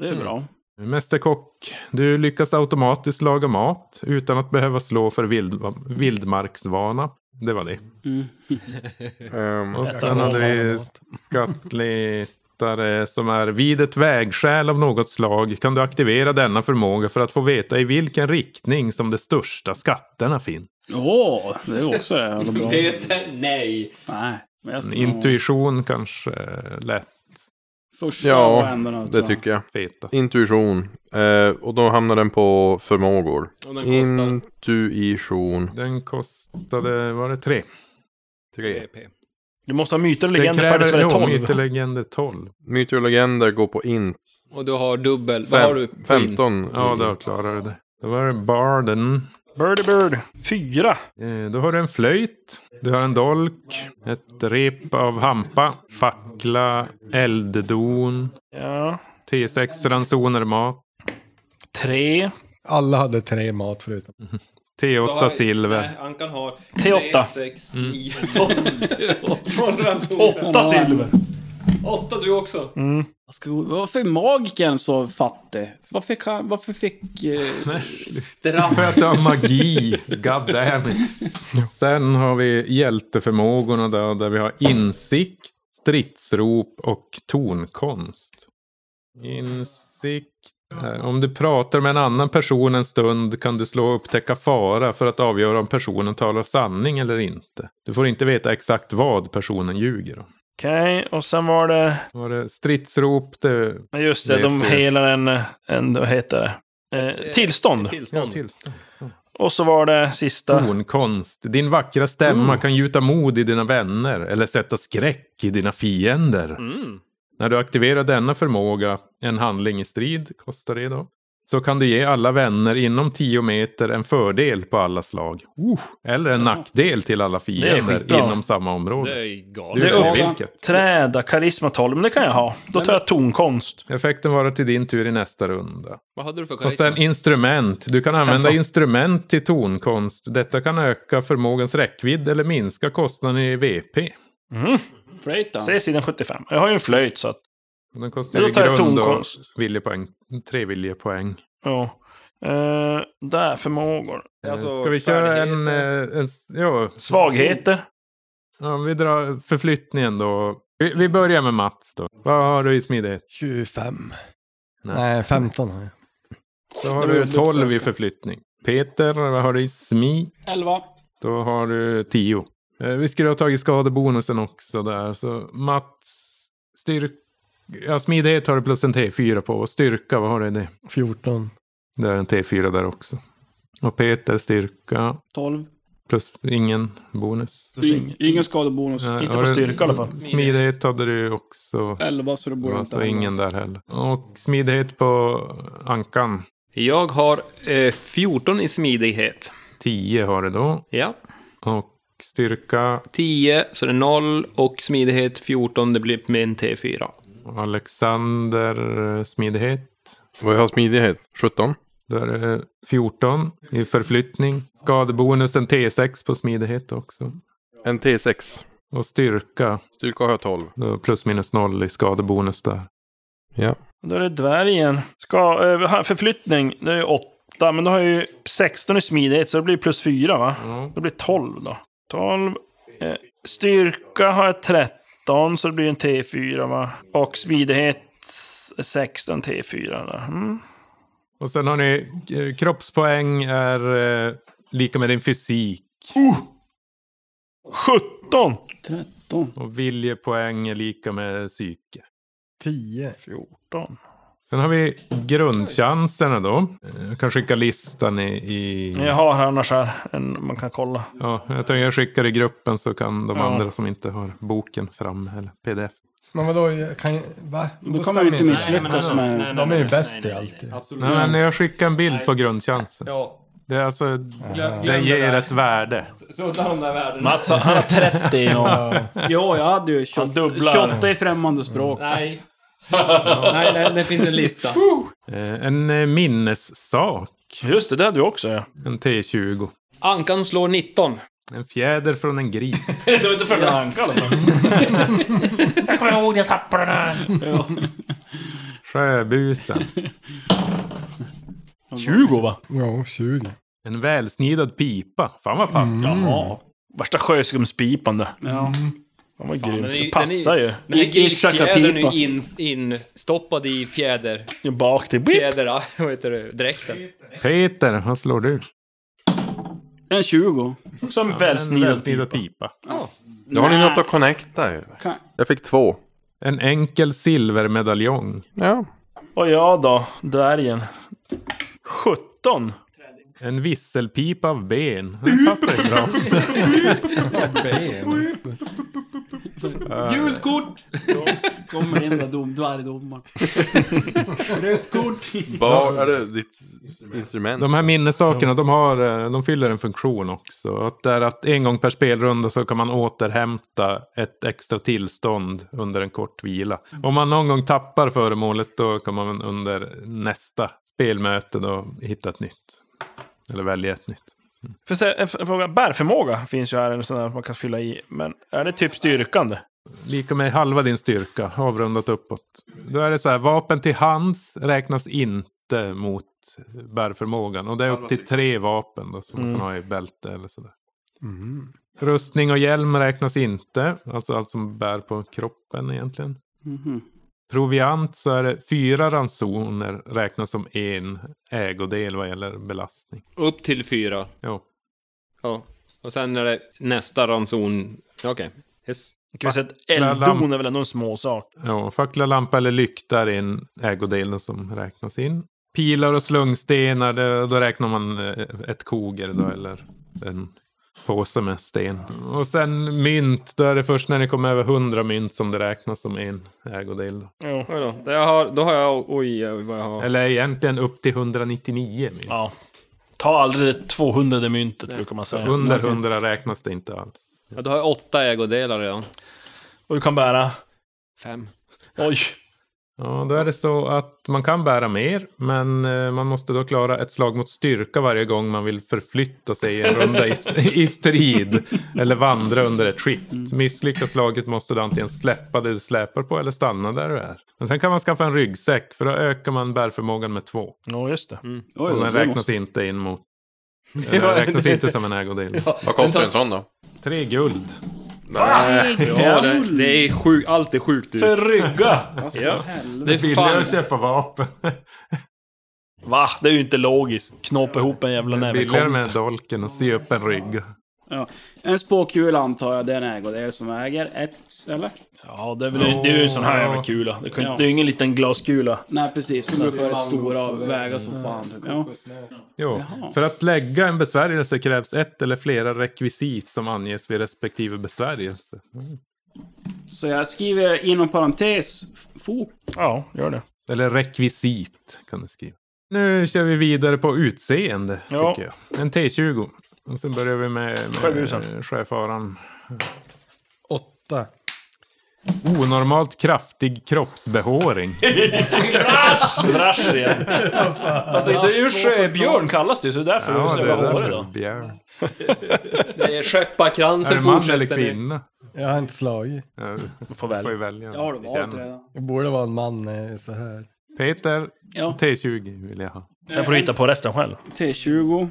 G: Det är bra.
B: Mästerkock, du lyckas automatiskt laga mat utan att behöva slå för vild, vildmarksvana. Det var det.
F: Ehm,
B: Och sen hade vi skattletare som är vid ett vägskäl av något slag kan du aktivera denna förmåga för att få veta i vilken riktning som de största skatterna finns.
G: Åh, det är också jävla bra.
H: Peter, nej.
G: Nej. Men jag ska nog-
B: Intuition kanske eh, lätt.
G: Första var
F: Ja,
G: ändå något,
F: det
G: va?
F: tycker jag.
B: Feta.
F: Intuition. Eh, och då hamnar den på förmågor.
H: Och den kostar?
F: Intuition.
B: Den kostade, var det tre?
F: Tre.
D: Du måste ha myter och
B: Den
D: legender för det, så är det
B: kräver, jo,
D: 12.
B: mytelegender 12.
F: Myter och legender går på int.
H: Och du har dubbel... Vad
F: Fem-
H: har du? på int?
F: 15.
B: Ja, då klarar du det. Då var det barden.
D: Birdie Bird. Fyra.
B: Eh, Då har du en flöjt, du har en dolk, ett rep av hampa, fackla, elddon,
D: Ja.
B: T6 ransoner mat,
D: Tre.
E: Alla hade tre mat förutom.
H: Då har
B: T8
H: vi-
B: silver.
H: Nej, Ankan har...
D: T8.
H: 3, 6, 9, 12. 12 ransoner.
D: Åtta silver.
H: 8 du också.
G: Jag ska- Varför är magiken så fattig? Varför fick han... Varför fick... Eh, straff?
B: För att du har magi, god damn it. Sen har vi hjälteförmågorna där, där vi har insikt, stridsrop och tonkonst. Insikt. Här, Om du pratar med en annan person en stund kan du slå och upptäcka fara för att avgöra om personen talar sanning eller inte. Du får inte veta exakt vad personen ljuger om.
D: Okej, och sen var det...
B: Var det stridsrop? Det...
D: Men Just det,
B: Det
D: de
B: är tur.
D: helar en... en vad heter det? Eh, tillstånd.
H: Tillstånd.
B: tillstånd.
D: Och så var det sista.
B: Tonkonst. Din vackra stämma
D: Mm.
B: kan gjuta mod i dina vänner eller sätta skräck i dina fiender.
D: Mm.
B: När du aktiverar denna förmåga, en handling i strid, kostar det då, så kan du ge alla vänner inom 10 meter en fördel på alla slag. Uh, Eller en nackdel till alla fiender
D: skitbra.
B: inom samma
H: Det
B: område.
H: är ju
B: Du
H: galet.
D: Det är
B: vet
D: upp-
B: vilket.
D: Träda, karisma 12, men det kan jag ha. Då tar jag tonkonst.
B: Effekten varar till din tur i nästa runda.
H: Vad hade du för
B: Och sen
H: karisma?
B: instrument. Du kan använda
D: Femton.
B: instrument till tonkonst. Detta kan öka förmågans räckvidd eller minska kostnaden i VP.
G: Freightan.
D: Se sidan 75. Jag har ju en flöjt så att...
B: Och Den kostar
D: Men
B: ju
D: då
B: i
D: tar jag
B: grund och
D: tonkonst.
B: viljepoäng. Tre viljepoäng.
D: Ja. Eh, där, förmågor.
H: Alltså,
B: Eh, Ska vi köra en...
H: färdigheter.
B: eh, en s- ja,
D: Svagheter.
B: ja, vi drar förflyttningen då. Vi, vi börjar med Mats då. Vad har du i smidighet?
E: 25.
B: Nej.
E: Nej, 15 har jag.
B: Då har du 12 i förflyttning. Peter, vad har du i smi?
G: Elva.
B: Då har du 10. Eh, Vi skulle ha tagit skadebonusen också där. Så Mats, styrka... Ja, smidighet har du plus en T4 på. Och styrka, vad har du i det?
E: 14.
B: Det är en T4 där också. Och Peter, styrka.
G: Tolv.
B: Plus ingen bonus.
G: Ing- Ingen skadebonus.
B: Nej,
D: Inte
B: har
D: på
B: du-
D: styrka i alla fall.
B: Smidighet hade du också.
G: Elva, så det borde
B: Alltså
G: inte
B: ingen där heller. Och smidighet på ankan.
H: Jag har eh, 14 i smidighet.
B: 10 har du då.
H: Ja.
B: Och styrka?
H: 10, så det är 0. Och smidighet 14, det blir min T4.
B: Alexander eh, smidighet?
F: Vad har smidighet? 17?
B: Då är det 14 i förflyttning. Skadebonusen T6 på smidighet också.
F: En T6.
B: Och styrka?
F: Styrka har jag 12.
B: Då plus minus noll i skadebonus där.
F: Ja.
D: Då är det dvärgen. Ska, eh, ha- förflyttning, det är ju 8, men då har jag ju 16 i smidighet, så det blir plus 4 va? Det blir 12 då. 12. Eh, styrka har jag 13, så det blir en T4 va? Och smidighet eh, s- 16 T4 där. Mm.
B: Och sen har ni eh, kroppspoäng är eh, lika med din fysik.
D: Uh! 17!
G: 13.
B: Och viljepoäng är lika med psyke.
E: 10.
D: 14.
B: Sen har vi grundchanserna då. Eh, Jag kan skicka listan i... i...
D: Jag har här annars här, en man kan kolla.
B: Ja, jag tänker jag skickar i gruppen så kan de
D: Ja.
B: andra som inte har boken fram eller pdf.
E: Men vadå, jag kan jag- Va?
G: Då kan man ju inte misslyckas
E: Nej, men
G: med-
E: nej, nej, De är ju bäst i allt.
B: Nej, men jag skickar en bild
E: Nej.
B: på grundchansen.
E: Ja.
B: Det, är alltså,
E: glöm
B: det
E: det
B: ger
E: där.
B: ett värde.
G: Sudda de där värdena.
D: Mats, han har 30 i någon.
G: Jo, jag hade ju
D: Han
G: 28,
D: dubblar.
G: 28 i främmande språk.
H: Nej. Nej, nej, det finns en lista.
B: Eh, En eh, minnessak.
D: Just det, det hade du också ja.
B: En T20.
H: Ankan slår 19.
B: En fjäder från en gris.
D: det var inte för att hanka Jag kommer ihåg jag tappade den här.
B: Sjöbusen.
D: 20 va?
E: Ja, 20.
B: En välsnidad pipa. Fan vad pass.
D: Jaha. Värsta sjöskumspipande.
G: Ja.
D: Den var
H: Fan,
D: grymt.
H: den är-
D: Det passar
H: den är-
D: ju.
H: Den här grillfjädern är
D: Ishaka-pipa.
H: ju in- instoppad in, i fjäder...
D: Bak till...
H: Fjäder, ja, vad heter det? Dräkten.
E: Mm.
B: Peter, vad slår du?
G: En 20.
D: Som
B: välsnidad pipa.
F: Då har ni
G: Nej.
F: något att connecta ju.
G: Kan-
F: Jag fick två.
B: En enkel silvermedaljong.
F: Ja.
D: Och jag då? Dvärgen. 17.
B: En visselpipa av ben. Det passar ju bra.
G: Gult kort! Eh, Kommer in där dom, dvärgdomaren. Rött kort.
F: Bar, är det ditt instrument?
B: De här minnessakerna, de, har, eh, de fyller en funktion också. Att det är att en gång per spelrunda så kan man återhämta ett extra tillstånd under en kort vila. Om man någon gång tappar föremålet då kan man under nästa spelmöte då hitta ett nytt. Eller välja ett nytt.
D: För se, en f- en fråga. Bärförmåga finns ju här, en sån där man kan fylla i. Men är det typ styrkande?
B: Lika med halva din styrka, avrundat uppåt. Då är det så här, vapen till hands räknas inte mot bärförmågan. Och det är upp till tre vapen då, som man
D: Mm.
B: kan ha i bälte eller sådär. Rustning och hjälm räknas inte, alltså allt som bär på kroppen egentligen.
G: Mhm.
B: Proviant så är det fyra ransoner räknas som en ägodel vad gäller belastning.
H: Upp till fyra.
B: Ja.
H: Ja. Och sen är det nästa ranson. Okej. Yes.
D: Kan vi säga att
B: Fackla
D: elddon
B: lamp-
D: är väl ändå en småsak?
B: Ja, fackla, lampa eller lykta är en ägodel som räknas in. Pilar och slungstenar, det- då räknar man eh, ett koger då, eller en påse med sten. Och sen mynt, då är det först när ni kommer över 100 mynt som det räknas som en ägodel. Då.
D: Jo.
H: Oj då. Det jag har, då har jag... Oj, oj, vad jag har.
B: Eller egentligen upp till 199 mynt.
D: Ja. Ta aldrig det 200 myntet brukar man säga.
B: Under 100 räknas det inte alls.
H: Ja, då har jag åtta ägodelar redan.
D: Och du kan bära...
H: Fem.
D: Oj!
B: Ja, då är det så att man kan bära mer, men eh, man måste då klara ett slag mot styrka varje gång man vill förflytta sig i en runda i, i strid eller vandra under ett
H: Mm.
B: skift. Misslyckas slaget måste du antingen släppa det du släpar på eller stanna där du är. Men sen kan man skaffa en ryggsäck, för då ökar man bärförmågan med två.
D: Ja, just det.
H: Mm.
G: Oj,
B: Och
G: då,
B: den
G: det
B: räknas
G: måste-
B: inte in mot...
H: Ja,
B: Den räknas
H: det-
B: inte som en ägodel.
F: Vad kostar en sån då?
B: Tre guld.
H: Ja, det, det är sjukt. Allt är sjukt dyrt.
D: För rygga!
G: Alltså,
D: Ja.
H: Det
G: helvete.
H: är fan...
B: köpa vapen.
D: Va? Det är ju inte logiskt. Knåpa ihop en jävla näve
B: Billigare
D: komp.
B: med dolken och sy upp en rygg.
G: Ja. En spåkula antar jag, det är en ägodel som äger ett, eller?
D: Ja, det är, väl, det är ju en sån här jävla kula. Det, kan, ju- det är ju ingen liten glaskula.
G: Nej, precis. De brukar vara rätt stora och väga som fan. Typ. Ja.
B: Jo,
G: Jaha.
B: för att lägga en besvärjelse krävs ett eller flera rekvisit som anges vid respektive besvärjelse.
G: Så jag skriver inom parentes, fok.
D: Ja, gör det.
B: Eller rekvisit kan du skriva. Nu kör vi vidare på utseende,
D: Ja.
B: tycker jag. En T20. Och sen börjar vi med,
D: Sjöbusen.
B: med sjöfaran.
E: Åtta.
B: Onormalt kraftig kroppsbehåring.
D: Krasch! Krasch igen. Fast det är ju sjöbjörn kallas det ju, så det är därför du ser vad hårig då.
B: björn.
H: Det är skepparkransen
E: Jag har inte slagit.
B: Ja,
D: du får välja.
B: får ju välja.
G: Jag har valt
B: Känn.
G: redan.
E: Jag borde vara en man när jag är så här.
B: Peter,
G: Ja.
B: T20 vill jag ha.
D: Sen får du hitta på resten själv.
G: T20.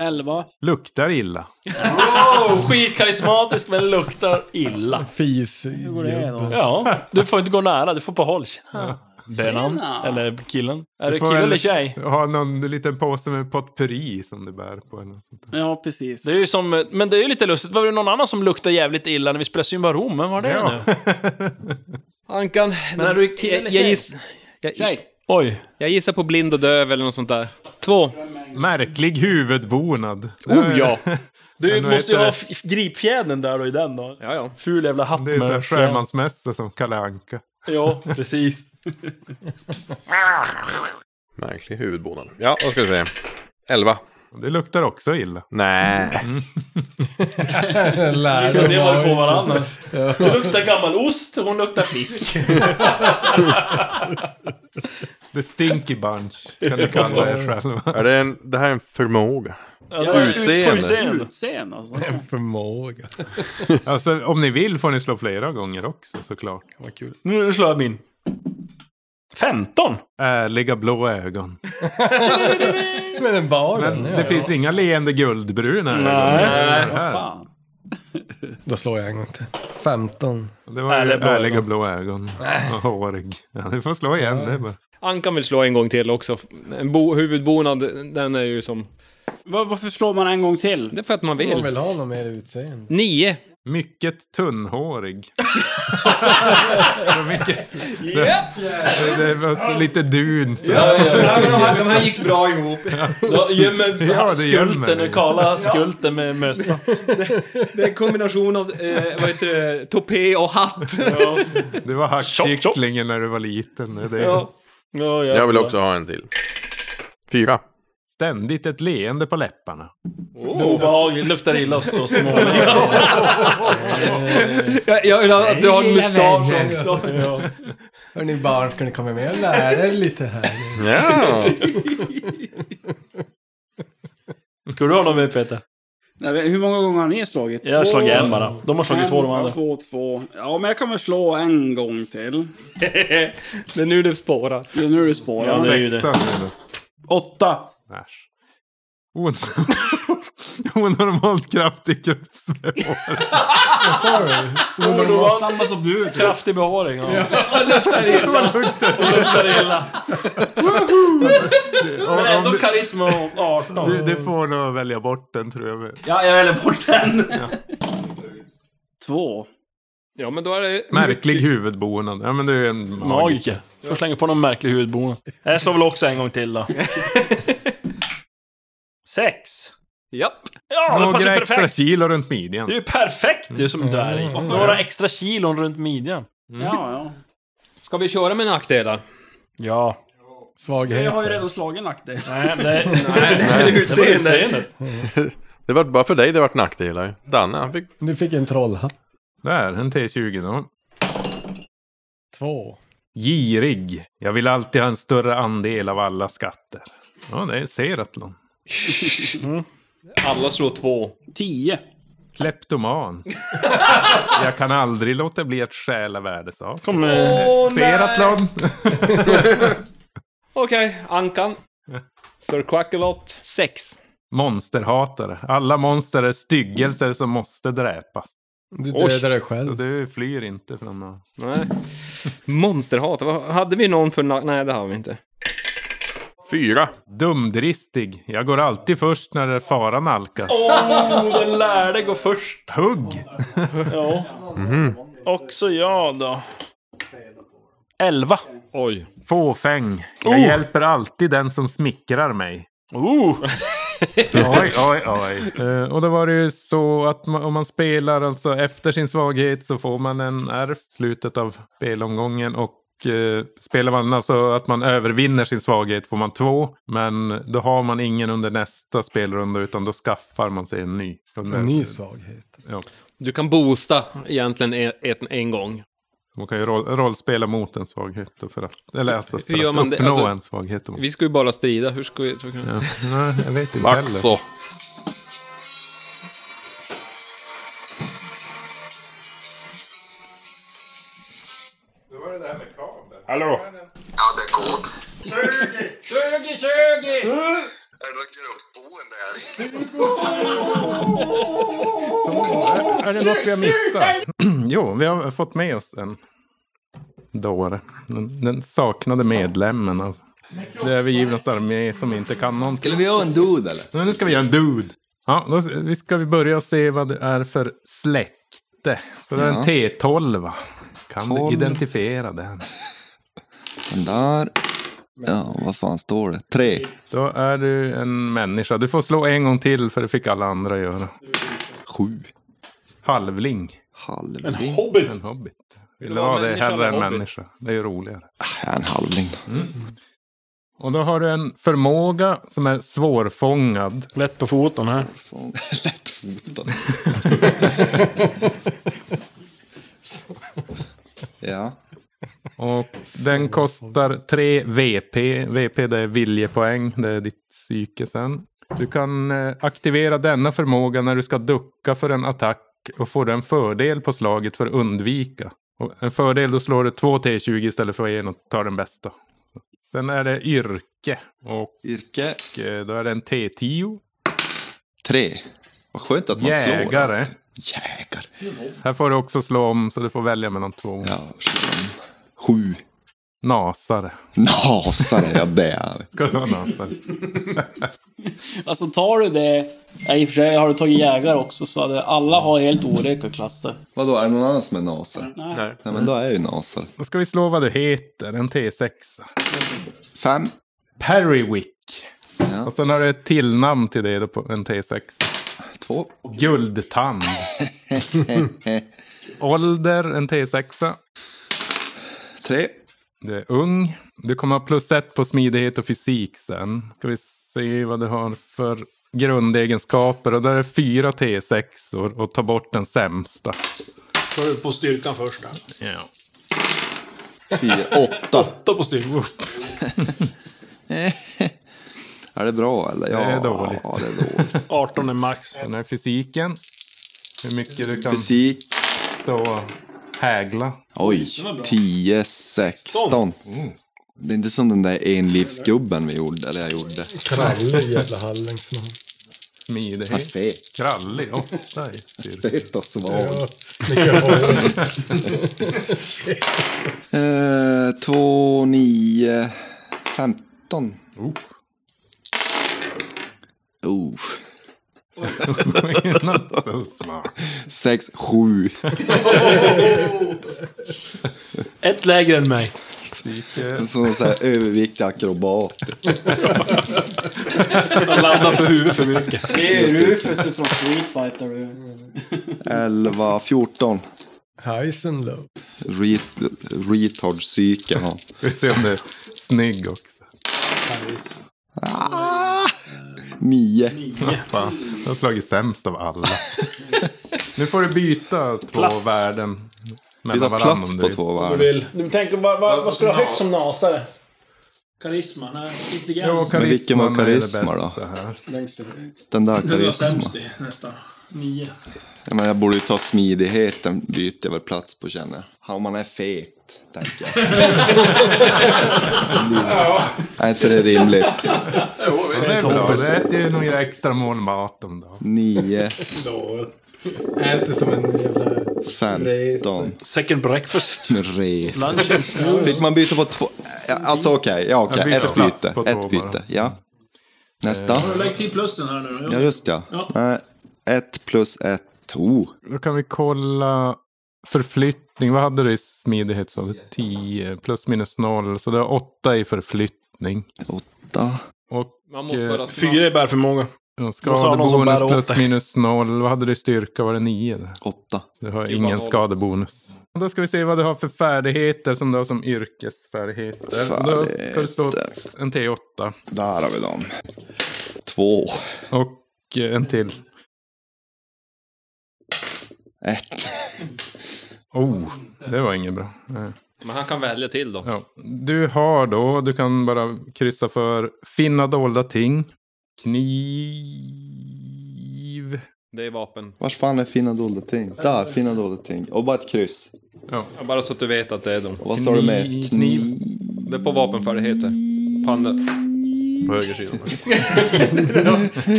G: 11.
B: Luktar illa.
D: Wow! Skitkarismatisk men luktar illa.
E: Fis.
D: Ja, du får inte gå nära, du får på håll. Tjena. Benan,
G: Tjena.
D: eller killen. Är
B: Du
D: det
B: får
D: kille
B: väl
D: eller tjej?
B: Ha någon liten påse med potpurri som du bär på. Eller något sånt.
G: Ja, precis.
D: Det är ju som, men det är ju lite lustigt, var det någon annan som luktade jävligt illa när vi spelade Zymba Rom? Men var det
B: Ja.
D: nu?
H: Ankan,
D: Men är du kille eller
H: jag, jag,
D: tjej?
H: giss, jag,
D: Oj.
H: jag gissar på blind och döv eller något sånt där. Två.
B: Märklig huvudbonad. Eh,
H: Oh ja!
D: Du
B: Men vad
D: måste ju
B: heter
D: ha
B: det?
D: f- gripfjädern där och i den då.
H: Ja, ja.
D: Ful jävla hatt
B: Det är så här
D: fjäder.
B: sjömansmässa som Kalle Anka.
D: Ja, precis.
F: Märklig huvudbonad. Ja, vad ska vi säga? Elva.
B: Det luktar också illa.
F: Nej.
E: Lär
D: Så det var ju
E: mig.
D: på varandra. Du luktar gammal ost och hon luktar fisk.
B: The stinky bunch kan du kalla er själva.
F: Är det, en, det här är en förmåga. Utseende.
D: Utseende.
G: Utseende alltså.
E: En förmåga.
B: Alltså om ni vill får ni slå flera gånger också såklart.
E: Vad kul.
D: Nu slår jag min. 15!
B: Ärliga blå ögon.
E: Men den bar
B: Men
E: den.
B: det
E: Ja.
B: finns inga leende guldbruna ögon.
D: Nej.
B: Det
G: Vad
B: här.
G: fan.
E: Då slår jag en gång till. 15.
B: Det var ju
D: Ärliga blå
B: ärliga
D: ögon.
B: blå ögon. Och hårig. Ja, du får slå igen. Det är bara.
H: Ankan vill slå en gång till också. En bo, huvudbonad, den är ju som...
G: Var, varför slår man en gång till?
H: Det är för att man
E: Man
H: vill.
E: vill ha något mer utseende.
H: Nio.
B: Mycket tunnhårig. Så mycket, det, det var så lite dunt.
H: de här gick bra ihop.
D: Jag gömmer
B: Ja, det gömmer
D: skulten,
B: det.
D: och kala skulten med mössa.
H: Det är en kombination av, eh, vad heter det, topé och hatt.
B: Det var hackkycklingen när du var liten. Det är
H: Ja.
D: Ja,
F: Jag vill också ha en till. Fyra.
B: Ständigt ett leende på läpparna.
D: Obehagligt, luktar illa att stå och småla.
H: Jag, jag vill ha att du har en mustasch också.
E: Hörni barn, ska ni komma med och lära er lite här?
F: Ja.
D: Ska du ha någon med Peter?
G: Nej, men hur många gånger har ni slagit?
D: Jag har
G: Två?
D: slagit en bara. De har slagit två de
G: En,
D: andra.
G: Två, två. Ja, men jag kan väl slå en gång till.
H: Det är nu det spårar.
G: Det är nu det spårar.
D: Ja, det är ju det.
B: Sexan är det.
G: Åtta.
B: Äsch. On- Onormalt kraftig kroppsbehåring.
G: Samma som du.
D: Kraftig behåring. Ja. Och luktar illa. Men ändå karisma och 18.
B: Du, du får nog välja bort den tror jag.
G: Ja, jag väljer bort den. Två.
H: Ja, men då är det...
B: Märklig huvudbonad. Ja men du är en magiker.
D: Magiker. Får slänga på någon märklig huvudbonad. Jag slår väl också en gång till då. Sex.
H: Ja.
D: Ja, det passar
B: Några
D: ju
B: extra
D: perfekt.
B: kilo runt midjan.
D: Det är ju perfekt ju som dvärg. Några extra kilon runt midjan.
G: Ja, ja.
H: Mm. Ska vi köra med nackdelar?
D: Ja.
G: Jag
E: Svaghet.
G: har ju redan slagit en nackdel.
D: Nej, det...
H: Nej, det är
D: Det var
H: utseende.
D: utseendet.
F: Det var bara för dig det vart nackdelar. Danne, han fick...
E: Du fick en trollhatt.
B: Där, en T20 då.
E: Två.
B: Girig. Jag vill alltid ha en större andel av alla skatter. Ja, det är Seratlon.
H: Alla slår två.
G: Tio.
B: Kleptoman. Jag kan aldrig låta bli att stjäla värdesaker.
D: Kom, eh,
B: Seratlon.
H: Okej, Ankan. Sir Quackalot. Sex.
B: Monsterhatare. Alla monster är styggelser som måste dräpas.
E: Du dödar dig
B: Och
E: själv.
B: du flyr inte från någon.
H: Nej. Monsterhat. Vad- Hade vi någon för... na- Nej, det har vi inte.
F: Fyra.
B: Dumdristig. Jag går alltid först när det är fara nalkas.
D: Oh, den lärde gå först.
B: Hugg!
D: Ja. Också jag då. Elva.
H: Oj.
B: Fåfäng. Jag
H: Oh.
B: hjälper alltid den som smickrar mig.
D: Oh.
B: Oj, oj, oj. Eh, och då var det ju så att ma- om man spelar alltså efter sin svaghet så får man en R i slutet av spelomgången. Och eh, spelar man alltså att man övervinner sin svaghet får man två. Men då har man ingen under nästa spelrunda utan då skaffar man sig en ny.
E: En ny svaghet.
B: Ja.
H: Du kan boosta egentligen en, en, en gång.
B: Man kan ju roll, rollspela mot en svaghet. Då för att, eller alltså för
H: Hur gör
B: att
H: man det?
B: uppnå
H: Alltså,
B: en svaghet. då.
H: Vi ska ju bara strida. Hur ska vi... Ja.
B: Nej, jag vet inte
H: Max
B: heller.
H: så.
B: Hallå?
L: Ja, det är god.
C: Tjugo, tjugo!
B: Är det något vi har missat? jo, vi har fått med oss en dåre. Den, den saknade medlemmen av det övergivnas armé som inte kan någonting. Skulle vi göra en dude eller? nu ska vi göra en dude. Ja, då s- vi ska vi börja och se vad det är för släkte. Så det är en
M: Ja.
B: T12. Kan
M: Tolv.
B: du identifiera den?
M: Den där. Ja, vad fan står det? Tre.
B: Då är du en människa. Du får slå en gång till för det fick alla andra göra.
M: Sju.
B: Halvling.
M: Halvling.
B: En hobbit. En hobbit. Vill du ha det hellre än människa? Det är ju roligare.
M: Ja, en halvling.
B: Och då har du en förmåga som är svårfångad.
D: Lätt på foten här.
M: Lättfotad. ja.
B: Och den kostar 3 VP. VP det är viljepoäng, det är ditt psyke sen. Du kan eh, aktivera denna förmåga när du ska ducka för en attack och får du en fördel på slaget för att undvika. Och en fördel, då slår du två T20 istället för en och tar den bästa. Sen är det yrke. Och eh,
M: yrke.
B: då är det en T10.
M: Tre. Vad skönt att man slår.
B: Jägare.
M: Jägare.
B: Här får du också slå om, så du får välja mellan två. Ja,
M: Sju.
B: Nasare.
M: Nasare, ja det är
B: Ska du ha nasare?
G: Alltså tar du det... Ja, I och för sig har du tagit jägare också, så hade alla har helt olika klasser.
M: Vadå, är det någon annan som är nasare?
G: Nej.
M: Nej, men då är jag ju nasare.
B: Då ska vi slå vad du heter, en T6.
M: Fem.
B: Perrywick. Och sen har du ett tillnamn till det då på en T6.
M: Två.
B: Guldtand. Ålder, en T6.
M: Tre.
B: Du är ung. Du kommer ha plus ett på smidighet och fysik sen. Ska vi se vad du har för grundegenskaper. Och där är fyra T6 och, och ta bort den sämsta.
D: Kör du på styrkan först där.
B: Ja.
M: Fyra. Åtta.
D: Åtta på styrkan.
M: Är det bra eller? Ja,
B: det är dåligt.
M: Ja, det är dåligt.
D: 18 är max.
B: Den här fysiken. Hur mycket du kan
M: Fysik.
B: stå och hägla.
M: Oj,
B: Den var bra.
M: 10, 16.
B: Mm.
M: Det är inte som den där enlivsgubben vi gjorde, eller jag gjorde.
E: Krallig jävla hallingsman.
B: Smidighet.
M: Perfekt.
B: Krallig. Åtta i styrka.
M: Fet och sval.
E: Ja, mycket hårdare.
M: Eh, Två, nio, femton.
B: Oh.
M: Oh.
B: Not so smart.
M: Sex, sju.
D: Ett lägre än mig.
M: Som en sån här överviktig akrobat.
D: Han landar för huvudet för mycket.
G: Det är Rufus från Street Fighter du.
M: Elva, fjorton.
E: Highs and low.
M: Ret- Retard-psyke han.
B: Vi ser om det är snygg också.
M: Nio.
B: Fan, jag har slagit sämst av alla. nu får du byta två
D: Plats.
B: värden.
M: Byta
B: Mellan varandra
M: plats
B: om du
M: på
B: vill.
M: två
D: Du
M: varv.
D: vill. Du tänker, vad, vad, vad ska du ha högt som nasare? Karisma? Nej, intelligens?
M: Men vilken var karisma då?
D: Längst ner.
M: Den där
D: Den var
M: karisma.
D: sämst i, nästan. Nio.
M: Ja, men jag borde ju ta smidigheten, byter jag väl plats på känner jag. Om man är fet, tänker jag.
C: Ja.
M: Är inte det rimligt?
B: Ja, det är bra. Det äter ju några extra mål mat om dagen.
M: Nio,
E: Äter som en jävla...
M: femton.
D: Second breakfast.
M: Res.
D: Lunch and snooze.
M: Fick man byta på två? Ja, Alltså okej, ja okej.
D: Jag byter
M: Ett
D: plats
M: byte,
D: på två
M: ett byte.
D: bara.
M: Ja. Nästa.
D: Eh. Har du lagt till plussen här nu då?
M: Ja just ja. Nej, Ett plus ett, oh.
B: Då kan vi kolla förflyttning. Vad hade du i smidighet? Så 10 plus minus noll. Så det är åtta i förflyttning.
M: Åtta.
B: Och
H: Man måste vara snabb.
D: Fyra är bärförmåga.
B: Jag
D: Och så har någon som
B: skadebonus
D: bär åt
B: plus
D: dig.
B: minus noll. Vad hade du i styrka? Var det nio? Där?
M: Åtta.
B: Så du har
H: Det är bara
B: ingen
H: noll.
B: skadebonus. Då ska vi se vad du har för färdigheter som du har som yrkesfärdigheter. Då ska du slå en T8.
M: Där har vi dem. Två.
B: Och eh, en till.
M: Ett.
B: Oh, det var inget bra. Nej.
H: Men han kan välja till då.
B: Ja. Du har då, du kan bara kryssa för finna dolda ting. Kniv.
H: Det är vapen.
M: Vars fan är fina dolda ting? Där, fina dolda ting. Och bara ett kryss.
B: Ja.
H: Bara så att du vet att det är dem.
M: Vad sa du med? Kniv. Kniv.
H: Det är på vapenfärdigheter. På andra...
F: På höger sida.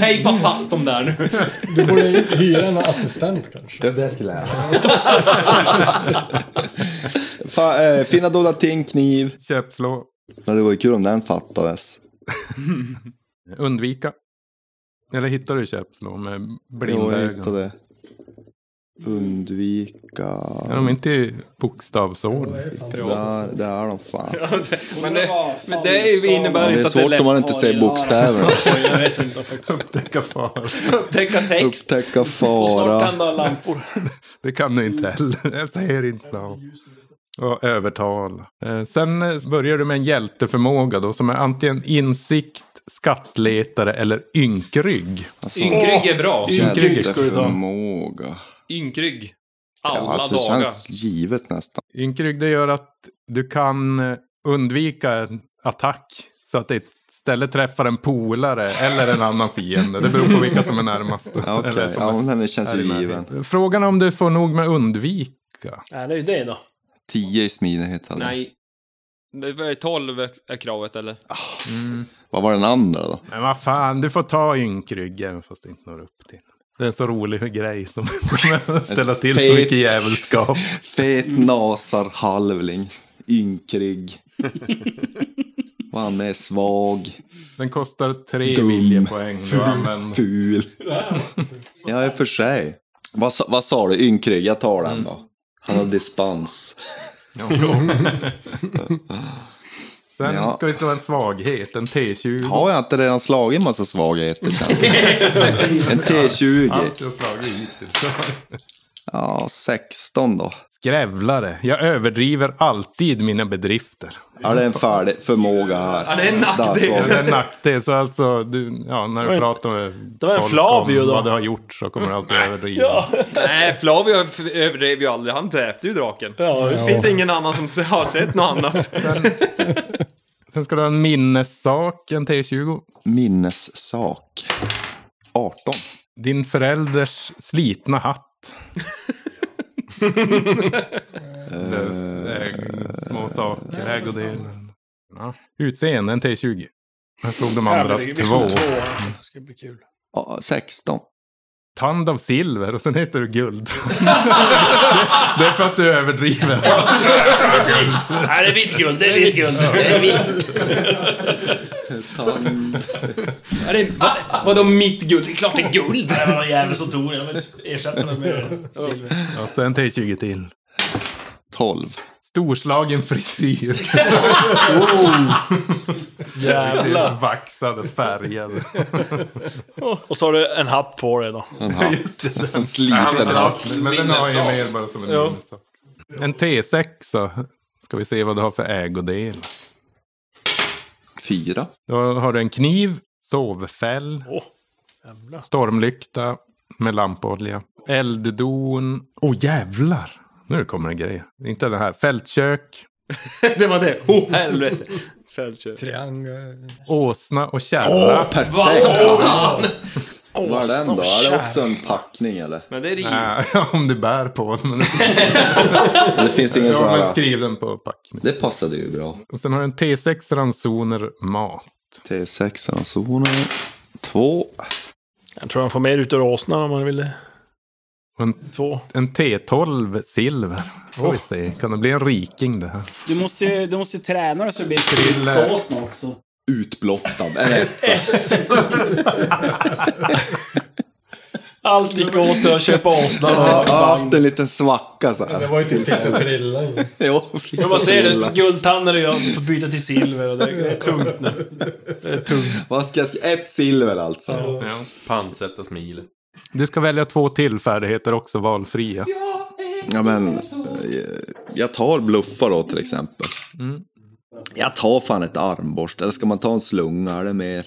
H: Tejpa fast dem där nu.
E: Du borde hyra en assistent kanske.
M: Ja, det skulle jag. Fa, eh, fina dolda ting, kniv.
B: Köpslå.
M: Men det var ju kul om den fattades.
B: Undvika. Eller hittar du köpslå med
M: Jo,
B: blinda
M: jag
B: ögon?
M: hittade. Undvika.
B: Är de inte i bokstavsordning?
M: Där, det är de fan.
H: Men det, men det innebär
M: Men
H: inte
M: det är
H: att det är
M: svårt
H: lätt.
M: om man inte ser bokstäverna.
D: Jag vet inte faktiskt.
B: Upptäcka fara.
H: Upptäcka text.
M: Upptäcka fara.
D: Tända lampor.
B: Det kan du inte heller. Jag säger inte då. Och övertal. Eh, Sen eh, börjar du med en hjälteförmåga då som är antingen insikt, skattletare eller ynkrygg.
M: Alltså,
H: Ynkrygg är bra.
B: Ynkrygg ska du ta.
M: Förmåga.
H: Ynkrygg. Alla
M: Ja, alltså, det
H: dagar.
M: känns givet nästan.
B: Ynkrygg det gör att du kan eh, undvika en attack så att det istället träffar en polare eller en annan fiende. Det beror på vilka som är närmast.
M: Ja, okej.
B: Eller som
M: Ja,
B: är-
M: men den känns
B: är i
M: ju
B: närheten.
M: given.
B: Frågan är om du får nog med undvik.
D: Nej, det är ju det då.
M: Tio i smidighet hade jag.
H: Nej. Det var 12 är kravet eller?
M: Vad var den andra då?
B: Men vad fan, du får ta ynkrygg även fast du inte når upp till. Det är en så rolig grej som kommer att ställa till så
M: Fet-
B: mycket jävelskap.
M: Fet
B: Mm.
M: nasarhalvling. Ynkrig. Man är svag.
B: Den kostar tre
M: Dum.
B: viljepoäng. Du
M: Ful.
B: använder-
M: Ful. Ja, i och för sig. Vad, sa- vad sa du? Ynkrig? Jag tar den då.
B: Mm.
M: Han har dispens.
B: Sen
M: Ja.
B: ska vi slå en svaghet, en T20.
M: Har jag inte redan slagit en massa svagheter känns det En T20.
B: Allt jag slagit hittills.
M: Ja, 16 då.
B: Skrävlare. Jag överdriver alltid mina bedrifter.
M: Ja, det är en färdig förmåga här.
B: Ja, det är en nackdel. Ja,
M: Där,
B: det är
M: svag.
B: en nackdel. Så alltså, du, ja, när
D: var
B: du
D: inte-
B: pratar med
D: det var en
B: folk
D: Flavio
B: om
D: då.
B: vad du har gjort så kommer du alltid överdriva.
H: Nej, Flavio överdrev ju aldrig. Han dräpte ju draken.
D: Ja,
H: det finns ingen annan som har sett något annat.
B: Sen ska du ha en minnessaak, en T20.
M: Minnessaak. 18.
B: Din förälders slitna hatt. Lös, ägg, små saker, ägodelar. Ja. Utseende, en T20. Här slog de andra
D: Herregud, vi
B: två.
D: slog två. Det ska bli kul.
M: Ja, 16.
B: Tand av silver och sen heter du guld. det är för att du överdriver.
D: Nej, det är vitt guld. Det är vitt guld.
M: Tand.
H: Är det, vad, vadå mitt guld? Det är klart det är guld!
D: Det var någon jävel som tog det. Jag vill ersätta det med silver.
B: Och sen T20 till.
M: 12.
B: Storslagen frisyr.
D: Jävlar.
B: Vaxade, färgade.
D: Och så har du en hatt på dig då.
M: En hatt. En sliten hatt.
B: Men den har ju mer bara som en
D: Ja.
B: minnesak. En T6 så ska vi se vad du har för ägodel.
M: 4.
B: Då har du en kniv, sovfäll,
D: Jävlar.
B: stormlykta med lampolja, elddon. Åh oh, jävlar! Nu kommer en grej. Inte det här. Fältkök,
H: Det var det. Oh, helvete. Fältkött.
E: Triangel.
B: åsna och
M: Åh,
B: kärra.
M: perfekt! Vad är den då? Är det också en packning eller?
H: Men det är riv.
B: Nej, om du bär på den. Men
M: Det finns ingen sån
B: ja, men
M: här...
B: skriv den på packning.
M: Det passade ju bra.
B: Och sen har du en T6 ransoner mat.
M: T6 ransoner. 2.
D: Jag tror han får mer ut ur åsnan om man vill det.
B: Och en,
D: Två.
B: en T12 silver. Får vi se. Kan det bli en riking det här?
G: Du måste ju, du måste ju träna dig så det blir
B: Krille.
G: såsen också.
M: Äh, Utblottad. En etta.
D: Allt gick åt till att köpa åsnan.
M: Jag har haft en liten svacka så här.
D: Det var ju typ Fritz och
E: Frilla.
M: jo,
D: Jag
M: Fritz
D: bara
M: och
D: ser
M: Frilla.
D: det, guldtanden och jag får byta till silver och det, det är tungt nu. Det är tungt.
M: Vad ska jag skriva? Ett silver alltså.
D: Ja.
I: Pantsätta smil.
B: Du ska välja två till färdigheter också, valfria.
M: Ja, men eh, jag tar bluffa då till exempel.
B: Mm.
M: Jag tar fan ett armborst. Eller ska man ta en slunga? Är det mer?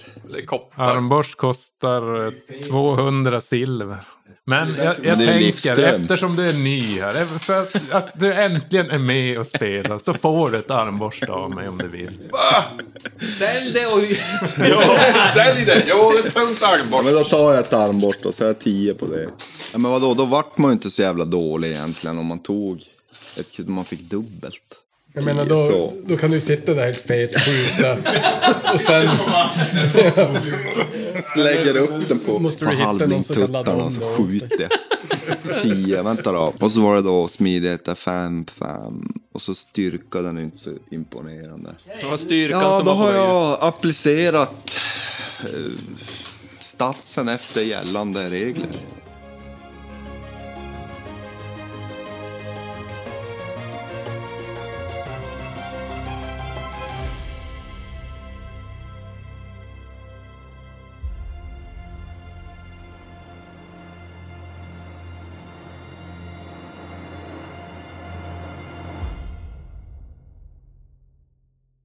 B: Armborst kostar eh, 200 silver. Men jag, jag
M: Men det är
B: tänker,
M: livsström.
B: eftersom du är ny här, även för att, att du äntligen är med och spelar, så får du ett armborst av mig om du vill.
H: Sälj det och...
M: Sälj det! Jag har ett tungt armborst. Men då tar jag ett armborst och så har jag tio på det. Ja, men vadå, då vart man ju inte så jävla dålig egentligen om man tog ett, man fick dubbelt.
E: Jag menar
M: Tio, så.
E: då, då kan du sitta där helt fet och skjuta. och sen...
M: Lägger upp den på,
E: Måste
M: på
E: du hitta någon som kan ladda
M: halvblindtuttarna
E: om
M: och så
E: då?
M: skjuter jag. Tio, vänta då. Och så var det då smidighet där fem, fem. Och så styrka, den är inte så imponerande.
H: Det var styrkan
M: Ja,
H: som
M: då
H: var på
M: har
H: väg ut.
M: jag applicerat eh, statsen efter gällande regler.